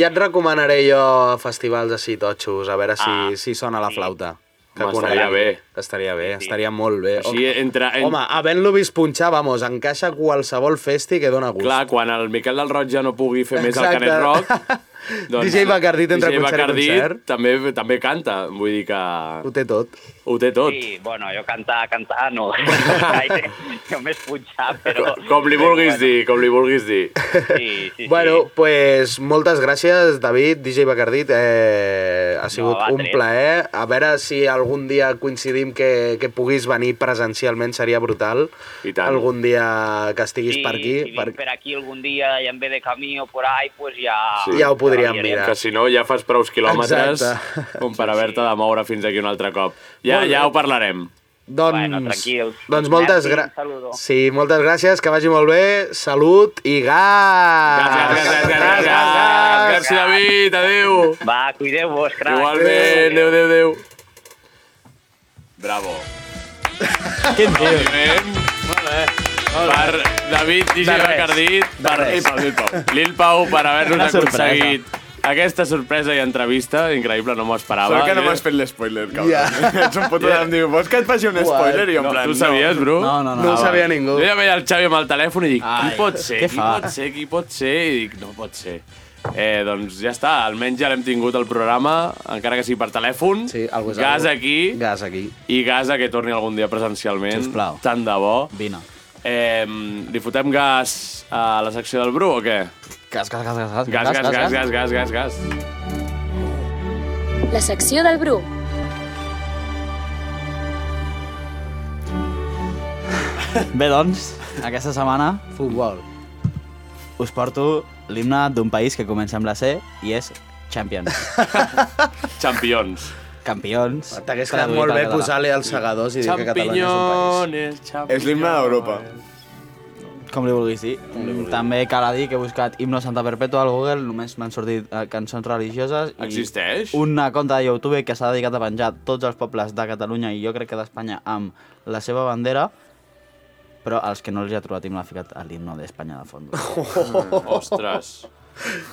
S8: ja et recomanaré jo festivals així totxos, a veure si,
S10: Ah,
S8: si sona la flauta. Que
S2: Home, estaria
S8: coneguem.
S2: bé.
S8: Estaria bé, estaria molt bé.
S2: Així, entre... En...
S8: Home, havent-lo vist punxar, vamos, encaixa qualsevol festi que dóna gust.
S2: Clar, quan el Miquel del Roig ja no pugui fer més el
S8: Exacte.
S2: Canet Rock... doncs,
S8: DJ Bacardit entre concert i concert.
S2: També, també canta, vull dir que...
S8: Ho té tot.
S2: Ho té tot.
S10: Sí, bueno, jo cantar, cantar no. Gaire, Només punxar, però...
S2: Com li vulguis dir, com li vulguis dir.
S10: Sí, sí,
S8: Bueno, pues moltes gràcies, David, DJ Bacardit. Eh, ha sigut
S10: va,
S8: no, un
S10: tret.
S8: plaer. A veure si algun dia coincidim que, que puguis venir presencialment, seria brutal.
S2: I
S8: tant. Algun dia que estiguis
S10: Sí,
S8: per aquí.
S10: si vinc per aquí algun dia i em ve de camí o por ahí, pues ja...
S2: Ah. Que si no ja fas prou quilòmetres
S8: Exacte.
S2: com per haver-te de moure fins aquí un altre cop. Ja,
S8: Molt bé.
S2: ja ho parlarem.
S8: Doncs,
S2: Bueno, tranquils.
S8: Doncs moltes,
S2: Merci,
S8: gra
S2: un saludo.
S8: sí, moltes gràcies, que vagi molt bé, salut i gas!
S2: Gràcies, gràcies, gràcies, gràcies, gràcies, David, adéu.
S10: Va, cuideu-vos, crac.
S8: eh?
S2: Igualment, adéu, adéu, adéu. Bravo. Què en dius? Molt bé. Per David
S15: De
S2: i
S15: res,
S2: Gerard Cardit,
S15: de
S2: per
S15: res.
S2: Lil Pau, Lil Pau. Lil Pau per
S15: Una
S2: haver-nos
S15: sorpresa.
S2: aconseguit aquesta sorpresa i entrevista. Increïble, no m'ho esperava. Eh?
S14: Sort que no m'has
S2: fet l'espoiler,
S14: cabrón. Ets un puto yeah. em diu, vols que et faci un
S2: Uau.
S14: spoiler? I jo en
S2: No,
S14: plan,
S2: tu ho sabies, Bru?
S14: No, no, no.
S2: Ah, va. Jo ja veia el Xavi amb el telèfon i dic,
S14: Ai,
S2: qui pot ser,
S14: què
S2: qui
S14: fa?
S2: pot ser, qui pot ser? I dic, no pot ser. Eh, doncs ja està, almenys ja l'hem tingut el programa, encara que sigui per telèfon. Sí,
S15: és
S2: gas
S15: algo.
S2: aquí. Gas aquí. I gas a que torni algun dia presencialment. Sisplau. Tant de bo. Vine. Eh, li fotem gas a la secció del Bru o què? Gas, gas, gas, gas. Gas, gas, gas, gas, gas, gas, gas.
S16: La secció del Bru.
S17: Bé, doncs, aquesta setmana... Futbol. Us porto l'himne d'un país que comença amb la C i és Champions.
S2: Champions.
S10: Campions.
S8: T'hagués quedat molt bé posar-li als segadors i dir que Catalunya és un país.
S9: És l'himne d'Europa.
S10: Com li vulguis dir. Mm, També cal dir que he buscat himno Santa Perpètua al Google, només m'han sortit eh, cançons religioses. I
S2: Existeix?
S10: Una conta de YouTube que s'ha dedicat a penjar tots els pobles de Catalunya i jo crec que d'Espanya amb la seva bandera, però els que no els hi ha trobat himno ha ficat l'himno d'Espanya de fons.
S2: Mm, ostres.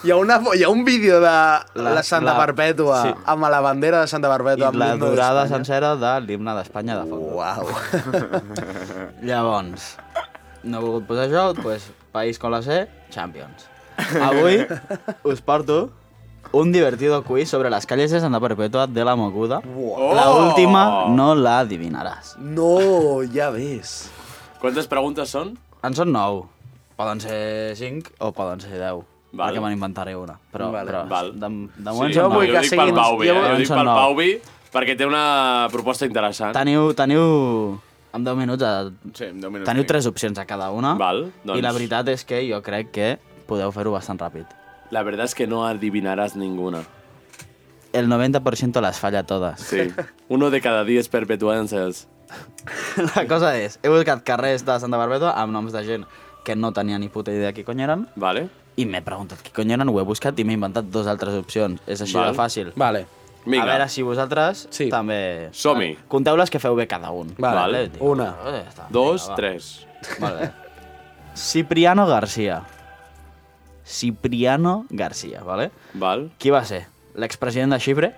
S8: Hi ha, una, fo- hi ha un vídeo de la,
S10: La-
S8: Santa
S10: la-
S8: Perpètua
S10: sí.
S8: amb la bandera de Santa
S10: I
S8: Perpètua. amb
S10: la
S8: l'himne
S10: durada
S8: d'Espanya.
S10: sencera de l'himne d'Espanya de fons.
S8: Uau.
S10: Llavors, no he volgut posar això, doncs, país com la C, Champions. Avui us porto un divertido quiz sobre las calles de Santa Perpetua de la Moguda. La última no la adivinaràs.
S8: No, ja ves.
S2: Quantes preguntes són?
S10: En són 9. Poden ser 5 o poden ser 10. Val. Perquè me n'inventaré una. Però,
S2: Vale.
S10: però
S2: Val.
S10: de, de moment
S2: jo
S10: són nou.
S2: vull que siguin... Pel Pauvi, eh?
S10: De
S2: Jo
S10: moment
S2: dic
S10: són
S2: pel
S10: nou.
S2: Pauvi perquè té una proposta interessant.
S10: Teniu, teniu... En 10 minuts... A...
S9: Sí, en 10 minuts.
S10: Teniu tres opcions a cada una.
S2: Val, doncs.
S10: I la veritat és que jo crec que podeu fer-ho bastant ràpid.
S2: La verdad es que no adivinarás ninguna.
S10: El 90% las falla todas.
S2: Sí. Uno de cada 10 perpetuances.
S10: La cosa és, he buscat carrers de Santa Barbeta amb noms de gent que no tenia ni puta idea qui cony eren.
S2: Vale.
S10: I m'he preguntat qui cony eren, ho he buscat i m'he inventat dos altres opcions. És així
S2: Val.
S10: de fàcil.
S8: Vale.
S2: Vinga.
S10: A veure si vosaltres sí. també...
S2: Som-hi.
S10: Conteu les que feu bé cada un. Eh,
S2: Vale.
S8: Una,
S2: dos,
S10: va.
S2: tres.
S10: Molt bé. Cipriano García. Cipriano García, vale?
S2: Val.
S10: Qui va ser? L'expresident de Xipre?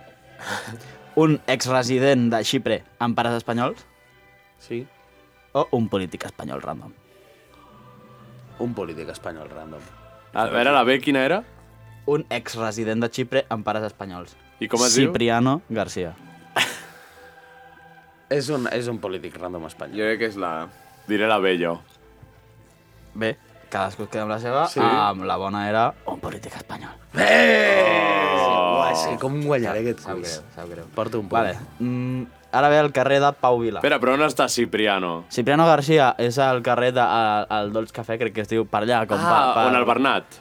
S10: Un exresident de Xipre amb pares espanyols?
S8: Sí.
S10: O un polític espanyol random?
S8: Un polític espanyol random.
S2: A veure, la B quina Ah, era?
S10: Un exresident de Xipre amb pares espanyols.
S2: I com es diu?
S10: Cipriano diu? García.
S8: És un, és un polític random espanyol.
S9: Jo crec que és la...
S2: Diré la B jo.
S10: Bé, cadascú es queda amb la seva.
S2: Sí.
S10: Sí. Amb la bona era un polític espanyol.
S8: Oh. És que com guanyaré aquest
S10: Sap
S8: quiz?
S10: greu, sap greu.
S8: Porto un punt.
S10: Vale. Mm, ara ve el carrer de Pau Vila.
S2: Espera, però on està Cipriano?
S10: Cipriano García és al carrer de, al, al Dolç Cafè, crec que es diu, per allà, com
S2: Ah,
S10: per, per...
S2: on el Bernat.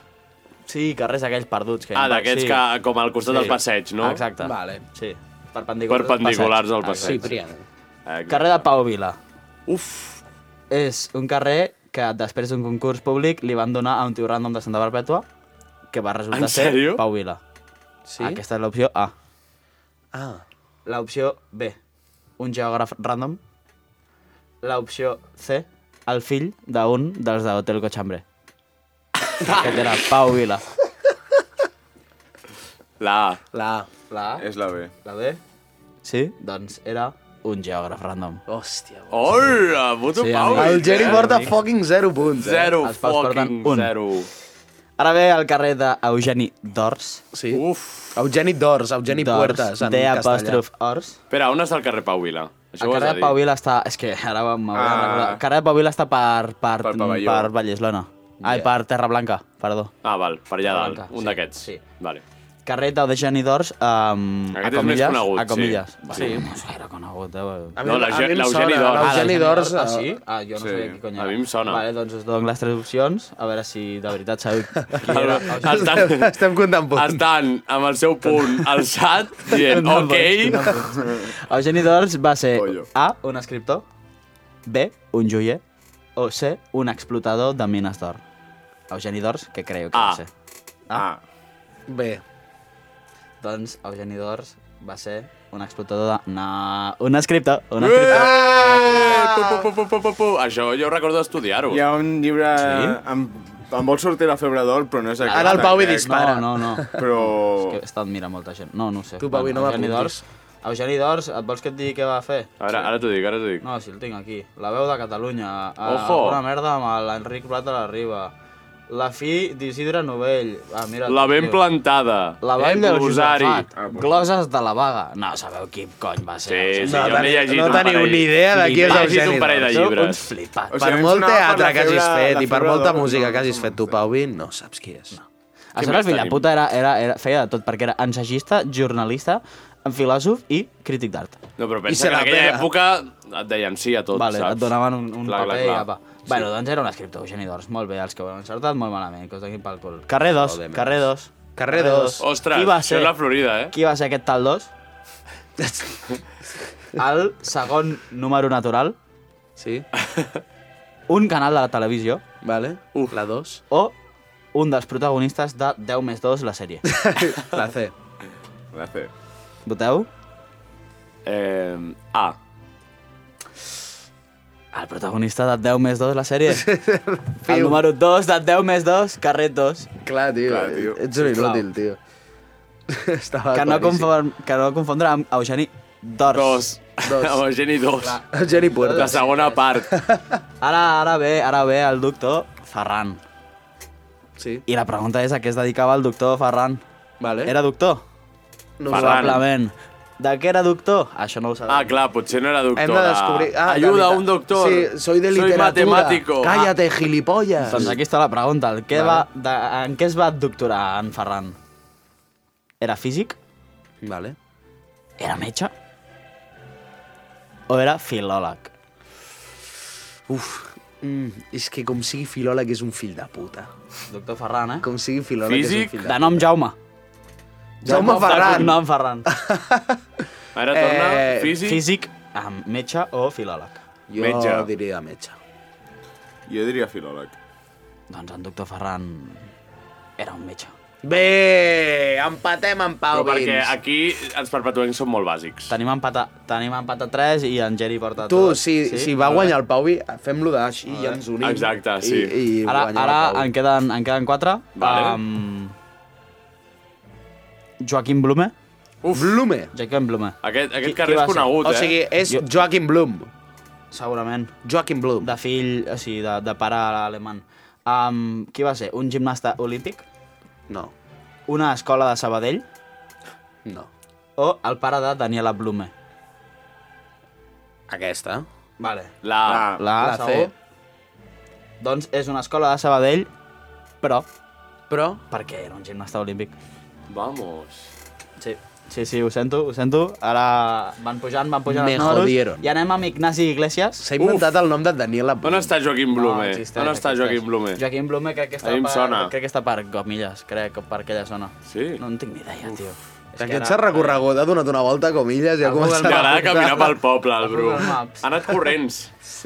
S10: Sí, carrers aquells perduts. Que
S2: Ah, d'aquests que- com al costat del passeig, no?
S10: Exacte. Ah,
S8: Vale.
S10: Sí, perpendiculars,
S2: Perpendiculars al
S10: Exacte.
S2: passeig.
S8: Cipriano.
S2: Exacte.
S10: Carrer de Pau Vila.
S2: Uf!
S10: És un carrer que després d'un concurs públic li van donar a un tio random de Santa Perpètua que va resultar
S2: En sèrio?
S10: ser Pau Vila.
S8: Sí?
S10: Aquesta és l'opció A.
S8: Ah.
S10: L'opció B, un geògraf random. L'opció C, el fill d'un dels de Hotel Cochambre. que era Pau Vila.
S2: La A.
S8: La A.
S10: La A,
S9: És la B.
S10: la B, sí, doncs era un geògraf random.
S8: Hòstia.
S2: Hola, puto
S10: Sí,
S2: Pau.
S10: amic.
S8: El Geri
S2: Eh?
S8: porta fucking zero punts. Eh?
S2: Zero,
S10: Els Paus
S2: fucking
S10: porten un.
S2: zero.
S10: Ara ve el carrer d'Eugeni d'Ors.
S8: Sí.
S2: Uf!
S8: Eugeni d'Ors, Eugeni
S10: D'Ors,
S8: Puertas, en
S10: D
S8: castellà.
S10: apòstrof Ors.
S2: Espera, on està el carrer Pau Vila? Això
S10: El
S2: ho has
S10: carrer
S2: de
S10: de
S2: dir.
S10: Pau Vila està... És que ara m'hauré de
S9: Ah.
S10: recordar. El carrer de Pau Vila està per, per,
S9: Per Pavelló.
S10: per Valleslona. Ai, per Terra Blanca, perdó.
S2: Ah, val, per allà
S10: Terra
S2: dalt.
S10: Blanca,
S2: Un
S10: sí,
S2: d'aquests.
S10: sí.
S2: Vale.
S10: Carrer de Eugeni d'Ors, um, a
S2: Aquest és més
S10: comillas,
S2: conegut,
S10: a comilles.
S2: sí.
S10: Vale, no és gaire conegut, eh?
S8: A
S2: No,
S8: mi-
S2: la
S8: a
S2: Ge-
S8: mi em
S2: l'Eugeni
S8: sona,
S2: d'Ors.
S10: Ah,
S8: l'Eugeni d'Ors...
S10: Ah,
S8: eh,
S10: sí? Ah, jo no
S9: Sí.
S10: sabia qui cony
S2: A
S10: era.
S2: mi em sona.
S10: Vale, doncs us dono les tres opcions, a veure si de veritat sabeu qui era. Eugeni
S2: Estan,
S8: Estem comptant punts.
S2: estan amb el seu punt alçat, dient, ok,
S10: Eugeni d'Ors va ser
S9: Pollo.
S10: A, un escriptor, B, un joier, o C, un explotador de mines d'or. Eugeni d'Ors, què creieu que
S2: A.
S10: va ser?
S9: Ah.
S8: Bé,
S10: Doncs Eugeni d'Ors va ser un explotador de... No, un escriptor, un escriptor.
S2: Eh! Pu, pu, pu, pu, pu, pu. Això jo recordo estudiar-ho.
S9: Hi ha un llibre...
S10: Sí?
S9: Amb... Em vol sortir la febre d'or, però no és aquest.
S8: Ara el Pau hi
S9: crec.
S8: dispara.
S10: No, no, no.
S9: Però...
S10: És que està admira molta gent. No, no ho sé.
S8: Tu, Pau, i no
S10: Eugeni
S8: m'apuntis.
S10: d'Ors... Eugeni d'Ors, et vols que et digui què va fer?
S2: Ara, ara t'ho dic, ara t'ho dic.
S10: No, si el tinc aquí. La veu de Catalunya.
S2: Ojo.
S10: Una merda amb l'Enric Plat de la Riba. La fi d'Isidre Novell. Ah, mira,
S2: La ben
S10: tio.
S2: plantada.
S10: La vall
S2: Eh,
S10: del
S2: Glosari.
S10: Josafat.
S9: Ah,
S10: Gloses de la vaga. No, sabeu qui cony va ser.
S2: Sí, sí,
S8: No,
S2: jo n'he
S8: teniu-
S2: llegit
S8: no
S2: un
S8: teniu
S2: parell.
S8: ni idea de qui és
S2: He llegit
S8: Eugeni
S2: un parell de
S8: d'Ors.
S10: Sou
S2: llibres.
S10: uns flipats.
S9: O
S8: per
S9: em
S8: molt
S9: sonava per
S8: teatre
S9: la
S8: que
S9: febre-
S8: hagis fet
S9: la
S8: i per
S9: febre
S8: molta
S9: d'or,
S8: música
S9: no,
S8: que hagis
S9: no
S8: fet tu,
S9: sé.
S8: Pau Vin, no saps qui és.
S10: A
S2: Què més
S10: sobre, el fill de
S2: tenim?
S10: puta era, era, era, feia de tot, perquè era ensagista, jornalista, filòsof i crític d'art.
S2: No, però
S8: I
S2: pensa que
S8: se
S2: en
S8: la
S2: aquella
S8: pega.
S2: època et deien sí a tot,
S10: vale,
S2: saps?
S10: et donaven un, un
S2: Clar, clar,
S10: paper
S2: clar.
S10: i apa. Bueno, doncs era un escriptor, Eugeni d'Ors. Molt bé, els que ho han encertat, molt malament, que us donin pel cul. Carrer 2,
S8: Joder,
S10: carrer 2.
S8: Carrer dos.
S2: Ostres,
S10: Qui va
S2: això
S10: ser?
S2: és la Florida, eh?
S10: Qui va ser aquest tal 2? El segon número natural.
S8: Sí.
S10: Un canal de la televisió.
S8: Vale. Uf. La 2.
S10: O un dels protagonistes de 10 més 2, la sèrie.
S8: La C.
S9: La C.
S10: Voteu?
S2: Eh, A.
S10: El protagonista de 10 més 2, la sèrie. el número 2 de 10 més 2, carrer 2.
S8: Clar, tio. Clar, tio. Ets un inútil, tio. Estava
S10: Que no,
S8: claríssim.
S10: confon, que no confondre amb Eugeni Dors.
S2: Dos.
S8: Dos.
S2: Amb el Geni 2.
S8: El Geni Puerta.
S2: La segona part.
S10: Ara, ara ve, ara ve el doctor Ferran.
S8: Sí.
S10: I la pregunta és a què es dedicava el doctor Ferran.
S8: Vale.
S10: Era doctor?
S8: No
S2: Ferran.
S10: Probablement. De què era doctor? Això no ho sabem.
S2: Ah, clar, potser no era doctor.
S10: Hem de descobrir-
S8: Ah,
S2: Ayuda a
S8: de
S2: un doctor.
S8: Sí, soy de
S2: Soy
S8: literatura.
S2: matemático. Ah,
S8: Cállate, gilipollas.
S10: Doncs aquí està la pregunta. El què va, de, en què es va doctorar en Ferran? Era físic?
S8: Vale.
S10: Era metge? O era filòleg?
S8: Uf. Mm, és que com sigui filòleg és un fill de puta.
S10: Doctor Ferran, eh?
S8: Com sigui filòleg
S2: Físic?
S8: és un fill de
S10: De nom Jaume.
S8: puta. Jaume Ferran.
S10: Nom Ferran.
S2: Ara torna.
S8: Eh,
S2: Físic.
S10: Físic, amb metge o filòleg?
S8: Jo
S9: Metge.
S8: diria metge.
S9: Jo diria filòleg.
S10: Doncs en doctor Ferran era un metge.
S8: Bé, empatem en Pau
S2: Però perquè
S8: Vins.
S2: aquí els perpetuencs són molt bàsics.
S10: Tenim empat a, tenim empat a 3 i en Geri porta
S8: Tu,
S10: tot.
S8: si, sí? si va guanyar el Pau Vins, fem-lo d'així i ens unim.
S2: Exacte, sí.
S8: I, i
S10: Ara,
S8: guanyem
S10: ara
S8: el Pau.
S10: en queden, en queden 4.
S2: Vale.
S10: Um, Joaquim Blume.
S8: Uf. Blume.
S10: Joaquim Blume.
S2: Aquest,
S10: Qui- qui
S2: aquest carrer
S10: va
S2: és
S10: ser?
S2: conegut,
S8: O sigui,
S2: eh?
S8: és
S10: Jo-
S8: Joaquim Blum.
S10: Segurament.
S8: Joaquim Blum.
S10: De fill, o sigui, de, de pare alemany. Um, qui va ser? Un gimnasta olímpic?
S8: No,
S10: Una escola de Sabadell?
S8: no.
S10: O el pare de Daniela Blume?
S8: Aquesta.
S10: Vale.
S2: La...
S9: Ah,
S10: La,
S8: la
S10: la segur.
S8: C.
S10: Doncs és una escola de Sabadell, però
S8: Però...
S10: perquè era un gimnasta olímpic.
S2: Vamos.
S10: Sí. Sí, sí, ho sento, ho sento. Ara van pujant, van pujant
S8: Me
S10: els números.
S8: jodieron.
S10: I anem amb Ignasi Iglesias.
S8: S'ha inventat el nom de Daniela Blum.
S2: On està Joaquim Blume?
S10: existeix,
S2: On està
S10: existeix.
S2: Joaquim Blume?
S10: Ah, Joaquim Blume crec que
S2: A
S10: està
S2: mi em
S10: per,
S2: sona.
S10: crec que està per Gomillas, crec, o per aquella zona.
S2: Sí?
S10: No en tinc ni idea, tio. És que
S8: Aquest
S10: ara-
S8: s'ha recorregut, ha donat una volta com illes i ha
S10: Al
S8: començat...
S10: Google
S8: a
S2: T'agrada
S8: apuntar.
S2: caminar pel poble, el Bru.
S10: Google Maps.
S2: Ha anat corrents.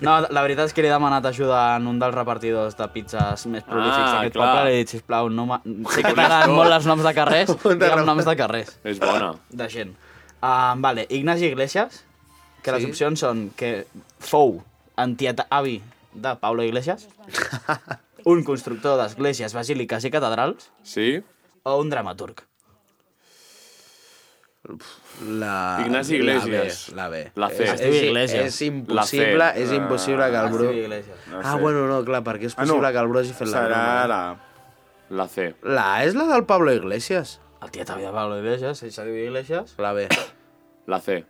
S10: No, la veritat és que li he demanat ajuda en un dels repartidors de pizzas més prolífics
S2: Ah,
S10: d'aquest
S2: clar.
S10: poble. Li he dit, sisplau, no ma... sé que t'agraden molt els noms de carrers,
S8: Un de
S10: digue'm
S8: repartidor.
S10: noms de carrers,
S2: És bona.
S10: de gent. Uh, vale, Ignasi Iglesias, que sí? les
S8: Sí.
S10: opcions són que fou antiet avi de Pablo Iglesias, un constructor d'esglésies, basíliques i catedrals,
S2: Sí?
S10: o un dramaturg.
S8: Ah, La...
S2: Ignasi Iglesias.
S8: La B.
S2: La C.
S8: És,
S10: Esteve
S8: és,
S10: Iglesias.
S8: és impossible,
S2: La
S8: és impossible que el Bru...
S10: Ignasi Iglesias.
S9: No
S8: Ah,
S9: sé.
S8: bueno, no, clar, perquè és
S9: Ah, no.
S8: possible que el Bru hagi fet la
S9: Serà
S8: broma.
S9: la...
S2: La C.
S8: La A és la del Pablo Iglesias.
S10: El tiet avi de Pablo Iglesias, ell se diu Iglesias,
S8: La B.
S2: La C.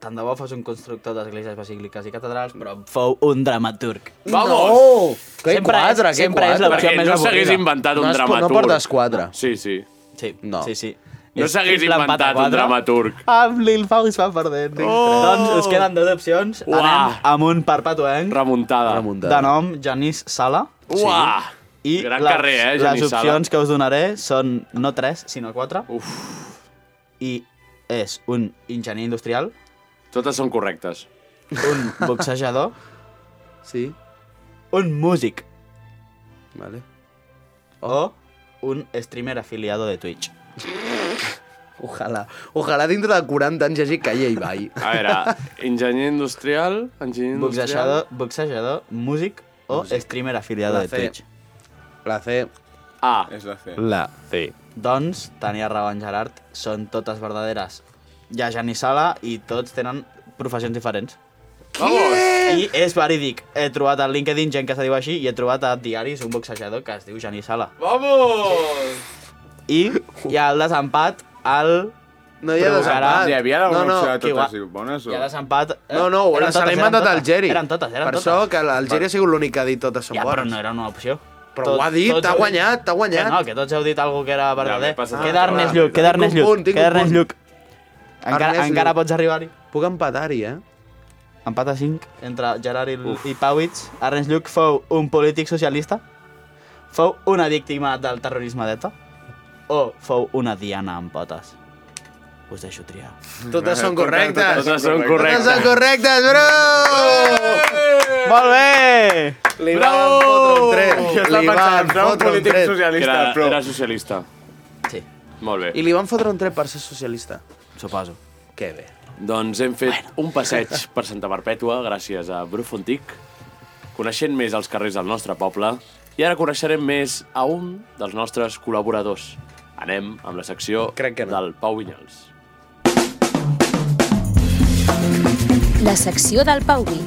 S10: tant de bo fos un constructor d'esglésies, basíliques i catedrals, però fou un dramaturg.
S2: Vamos!
S8: No! Que
S10: Sempre
S8: quatre,
S10: és-
S8: que
S10: sempre és
S8: quatre.
S10: la-
S2: Perquè
S10: Opció més
S2: no s'hagués
S10: avorrida.
S2: inventat un
S8: No es- no
S2: dramaturg.
S8: portes quatre.
S2: Sí, sí.
S10: Sí,
S8: No.
S10: sí, sí.
S2: No
S10: És
S2: s'hagués
S10: l'empat a
S2: inventat un
S10: quatre.
S2: dramaturg.
S10: Amb Lil Pau es va perdent. Oh! Doncs us queden dues opcions.
S2: Uah!
S10: Anem amb un perpetuenc
S2: Remuntada.
S8: Remuntada.
S10: de nom Janís Sala.
S2: Uah!
S10: I
S2: Gran
S10: les,
S2: carrer, eh, Janís
S10: les
S2: Sala.
S10: opcions que us donaré són no tres, sinó quatre. Uf. I és un enginyer industrial,
S2: Totes són correctes.
S10: un boxejador,
S8: Sí,
S10: un músic
S8: vale.
S10: o un streamer afiliado de Twitch.
S8: Ojalà. Ojalà dintre de 40 anys hi hagi Calle Ibai.
S2: A veure, enginyer industrial, enginyer industrial...
S10: Boxejador, boxejador músic o streamer afiliado
S8: La
S10: de
S8: C.
S10: Twitch.
S8: La C.
S2: A.
S9: És la C.
S8: La C.
S10: Doncs, tenia raó en Gerard, són totes verdaderes. Hi ha Jani Sala i tots tenen professions diferents.
S2: Vamos!
S10: I és verídic. He trobat a LinkedIn gent que se diu així i he trobat a diaris un boxejador que es diu Jani Sala.
S2: Vamos!
S10: I hi ha el desempat al...
S8: No hi ha
S10: Provocarà.
S8: desempat.
S9: Hi havia alguna
S8: no, no,
S9: opció de
S10: que
S9: totes
S10: igual-
S9: bones o...?
S10: Hi ha desempat... eh,
S8: No, no,
S10: eren
S8: la se
S10: totes,
S8: l'ha
S10: eren
S8: inventat el
S10: totes.
S8: Geri.
S10: Eren totes, eren
S8: per
S10: totes.
S8: això que el Geri ha sigut l'únic que ha dit totes són
S10: Ja,
S8: bones.
S10: però no era una opció.
S8: Però ho ha dit,
S10: tots
S8: ha
S10: heu dit-
S8: guanyat, ha guanyat.
S10: Que no, que tots heu dit algo que era verdader.
S2: m'he passat
S10: queda
S2: la
S10: Ernest
S2: trobada.
S10: Lluc, queda
S8: Tinc un
S10: Ernest Lluc,
S8: punt, tinc
S10: queda
S8: un
S10: Ernest
S8: punt.
S10: Lluc. Encara,
S8: Ernest
S10: encara
S8: Lluc.
S10: pots arribar-hi.
S8: Puc empatar-hi, eh?
S10: Empat a 5 entre Gerard i, i Pauwitz. Ernest Lluc fou un polític socialista, fou una víctima del terrorisme d'ETA o fou una diana amb potes. us deixo triar.
S18: Totes són correctes.
S10: Totes són correctes.
S18: Totes són correctes, bro!
S10: Molt bé!
S18: Li van fotre un tret. Li van fotre un tret.
S2: Era,
S18: però-
S2: era socialista.
S10: Sí.
S2: Molt bé.
S18: I li van fotre un tret per ser socialista.
S10: Suposo.
S18: Que bé.
S2: Doncs hem fet bueno. un passeig per Santa Perpètua gràcies a Bru Fontic, coneixent més els carrers del nostre poble, i ara coneixerem més a un dels nostres col·laboradors. Anem amb la secció Crec que no. del Pau Vinyals.
S4: La secció del Pau Gui.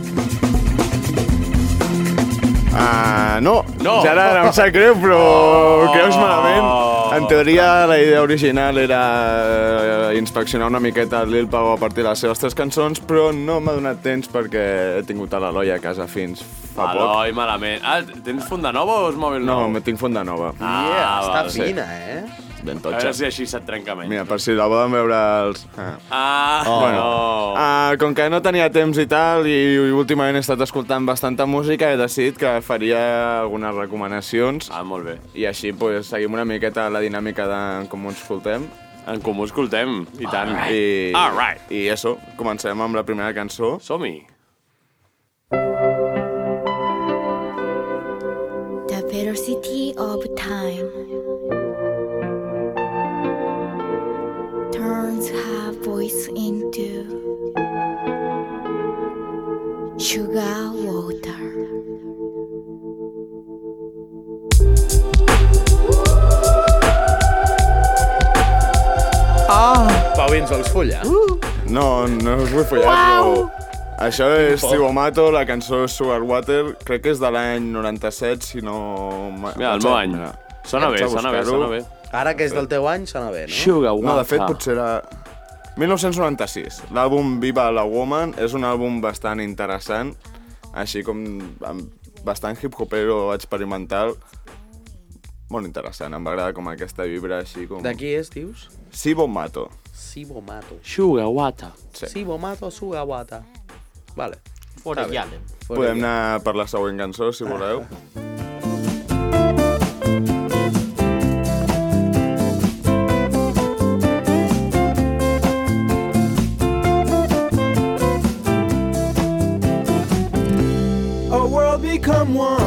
S8: Ah, no. no. Gerard, em sap greu, però oh. creus malament. En teoria, la idea original era eh, inspeccionar una miqueta el Lil Pau a partir de les seves tres cançons, però no m'ha donat temps perquè he tingut a l'Eloi a casa fins fa
S2: Eloi, malament. Ah, tens funda nova o és mòbil
S8: poc. No,
S2: nou?
S8: me tinc funda nova.
S2: val, Ah, sí. eh?
S8: Ben
S2: A veure
S8: totxa.
S2: si així se't trenca menys.
S8: Mira, per si la volen veure els... Ah.
S2: Ah, oh,
S8: bueno,
S2: no.
S8: ah, com que no tenia temps i tal, i últimament he estat escoltant bastanta música, he decidit que faria algunes recomanacions.
S2: Ah, molt bé.
S8: I així pues, seguim una miqueta la dinàmica de com ens escoltem.
S2: En comú escoltem, i tant.
S8: All right. I,
S2: All right.
S8: I això, comencem amb la primera cançó.
S2: Som-hi.
S16: The Better City of Time turns her voice into sugar water.
S18: Ah! Pau, ens vols follar? Uh.
S8: No, no us vull follar, wow. però... Això és Tibo Mato, la cançó és Sugar Water, crec que és de l'any 97, si no...
S2: Mira, el meu any. Sona bé, sona bé, sona bé.
S18: Ara que és del teu any, sona bé, no?
S8: No, de fet, potser era... 1996. L'àlbum Viva la Woman és un àlbum bastant interessant, així com amb bastant hip-hopero experimental. Molt interessant, em va agradar com aquesta vibra així com...
S18: De qui és, dius?
S8: Sibo Mato.
S18: Sibo Mato.
S2: Shugawata.
S8: Sí.
S18: Sibo Mato Sugawata. Vale.
S10: Fora
S18: Està bé.
S10: Yalen.
S18: Fora
S8: Podem
S18: Yalen.
S8: anar per la següent cançó, si voleu.
S19: A world become one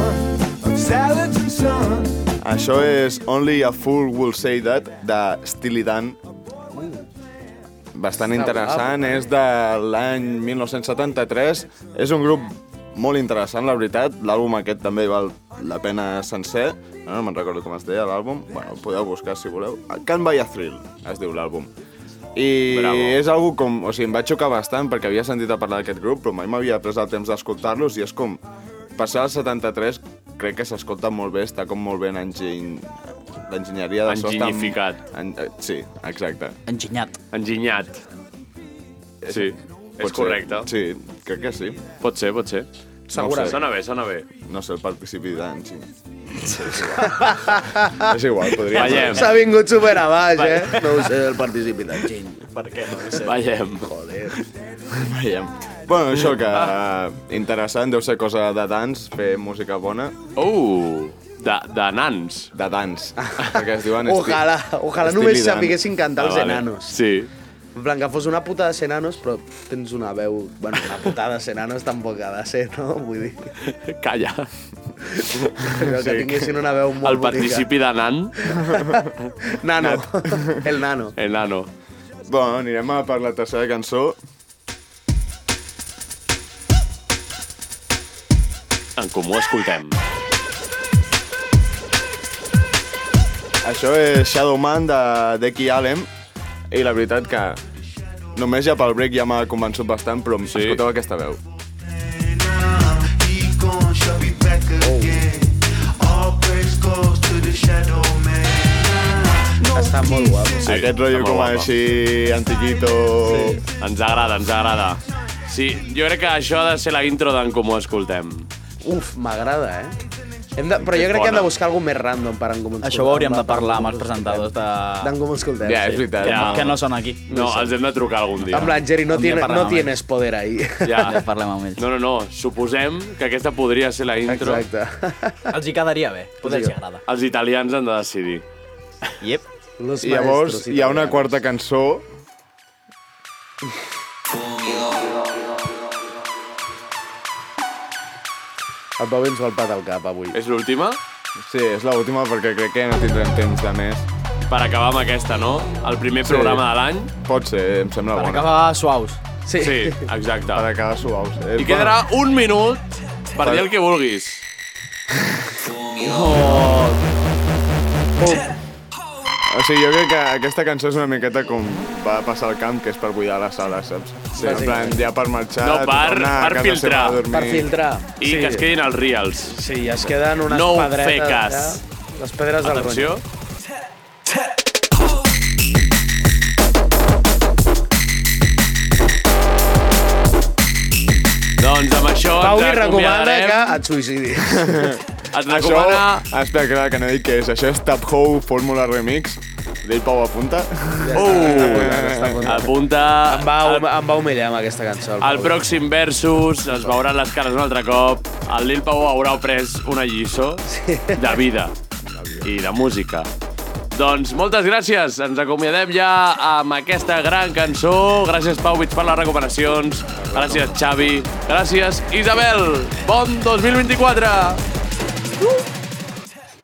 S19: of salads and sun.
S8: Això és Only a Fool Will Say That, de Steely Dan. Bastant
S19: Està
S8: interessant, és de l'any 1973. És un grup molt interessant, la veritat. L'àlbum aquest també val la pena sencer. No, no me'n recordo com es deia l'àlbum. Bueno, el podeu buscar si voleu. Can Buy a Thrill es diu l'àlbum. I Bravo. és algo com... O sigui, em va xocar bastant perquè havia sentit a parlar d'aquest grup, però mai m'havia pres el temps d'escoltar-los i és com... Passar al 73 crec que s'escolta molt bé, està com molt ben enginy... L'enginyeria de so està...
S2: Enginyificat.
S8: En... eh, Sí, exacte.
S10: Enginyat.
S2: Enginyat. Sí, és correcte.
S8: Eh, Sí, crec que sí.
S2: Pot ser, pot ser.
S8: ho sé.
S2: Sona bé, sona bé.
S8: No sé, el participi d'anys. és igual, podria...
S2: Veiem.
S18: S'ha vingut super a baix,
S8: Vale.
S18: eh? No ho sé, el participi de gent.
S10: Per què? No ho sé.
S2: Veiem.
S18: Joder.
S8: Veiem. Bueno, això que... eh, Interessant, deu ser cosa de dans, fer música bona.
S2: Uh! De, de nans.
S8: De dans. Perquè es diuen... esti-
S18: Ojalà, ojalà
S8: Steely
S18: només
S8: Dan.
S18: sapiguessin cantar els
S8: Ah, vale.
S18: enanos.
S2: Sí.
S18: En plan, que fos una puta de senanos, però tens una veu... Bueno, una puta de senanos tampoc ha de ser, no? Vull dir...
S2: Calla.
S18: Però que tinguessin una veu molt
S2: El participi de nan,
S18: bonica. Nano. El nano.
S2: el nano.
S8: Bueno, anirem a per la tercera cançó.
S2: En comú escoltem.
S8: Això és Shadowman de Deki Allen. I la veritat que només ja pel break ja m'ha convençut bastant, però sí. escolteu aquesta veu.
S19: He gone, shall be back
S10: Oh.
S19: again. All praise goes to the shadow man.
S18: Està molt guapo.
S8: Sí, Aquest rotllo com guapa. així, antiquito... Sí.
S2: Ens agrada, ens agrada. Sí, jo crec que això ha de ser la intro d'en comú escoltem.
S18: Uf, m'agrada, eh? Hem de, però
S2: És
S18: jo crec que hem
S2: bona.
S18: de buscar algun més random per en Comú
S10: Això ho hauríem de parlar amb els presentadors de...
S18: D'en Comú
S8: Eh,
S18: Escoltem.
S10: Ja, és veritat.
S2: Ja.
S10: Que no són aquí.
S2: No, els hem de trucar algun dia.
S18: En plan, Jerry, no,
S10: Un dia
S18: tiene,
S10: parlem
S18: no
S10: amb
S18: tienes poder ahí.
S2: Ja.
S10: Ja parlem amb ells.
S2: No, no, no. Suposem que aquesta podria ser la intro.
S18: Exacte.
S10: Els hi quedaria bé. Poder els hi agrada.
S2: Els italians han de decidir.
S10: Yep.
S18: Los
S8: I llavors hi ha una quarta cançó El Pau ens vol patar el cap avui.
S2: És l'última?
S9: Sí, és l'última perquè crec que no tindrem temps de més.
S2: Per acabar amb aquesta, no? El primer programa de l'any.
S9: Pot ser, em sembla
S2: Per
S9: bona.
S2: acabar
S9: suaus.
S2: Sí. Sí, exacte.
S9: Per acabar suaus. Eh,
S2: I quedarà un minut per
S9: Per-
S2: dir el que vulguis.
S9: O sigui, jo crec que aquesta cançó és una miqueta com va passar al camp, que és per buidar la sala, saps? Sí, en plan, ja per marxar,
S2: No, per,
S9: tornar a
S2: per
S9: casa
S2: filtrar.
S9: seva a dormir.
S2: I sí. que es quedin els reals. Sí,
S8: Es queden unes
S2: no
S8: pedretes...
S2: No fer cas.
S8: allà, les pedres del
S2: Atenció.
S8: rotllo.
S2: Doncs amb això
S8: Pau li
S2: ens
S8: recomana
S2: acomiadarem.
S8: que et suïcidis.
S2: Et recomana-
S9: Això, espera, que, que no dic què és. Això és Tap Ho Fórmula Remix. D'ell Pau apunta.
S2: Uh, Oh! apunta... Em va,
S8: em va humillar amb aquesta cançó.
S2: El pròxim Versus, es veuran les cares un altre cop, el Lil Pau haurà après una lliçó de vida i de música. Doncs moltes gràcies, ens acomiadem ja amb aquesta gran cançó. Gràcies, Pauwitz, per les recomanacions. Gràcies, Xavi. Gràcies, Isabel. Bon 2024!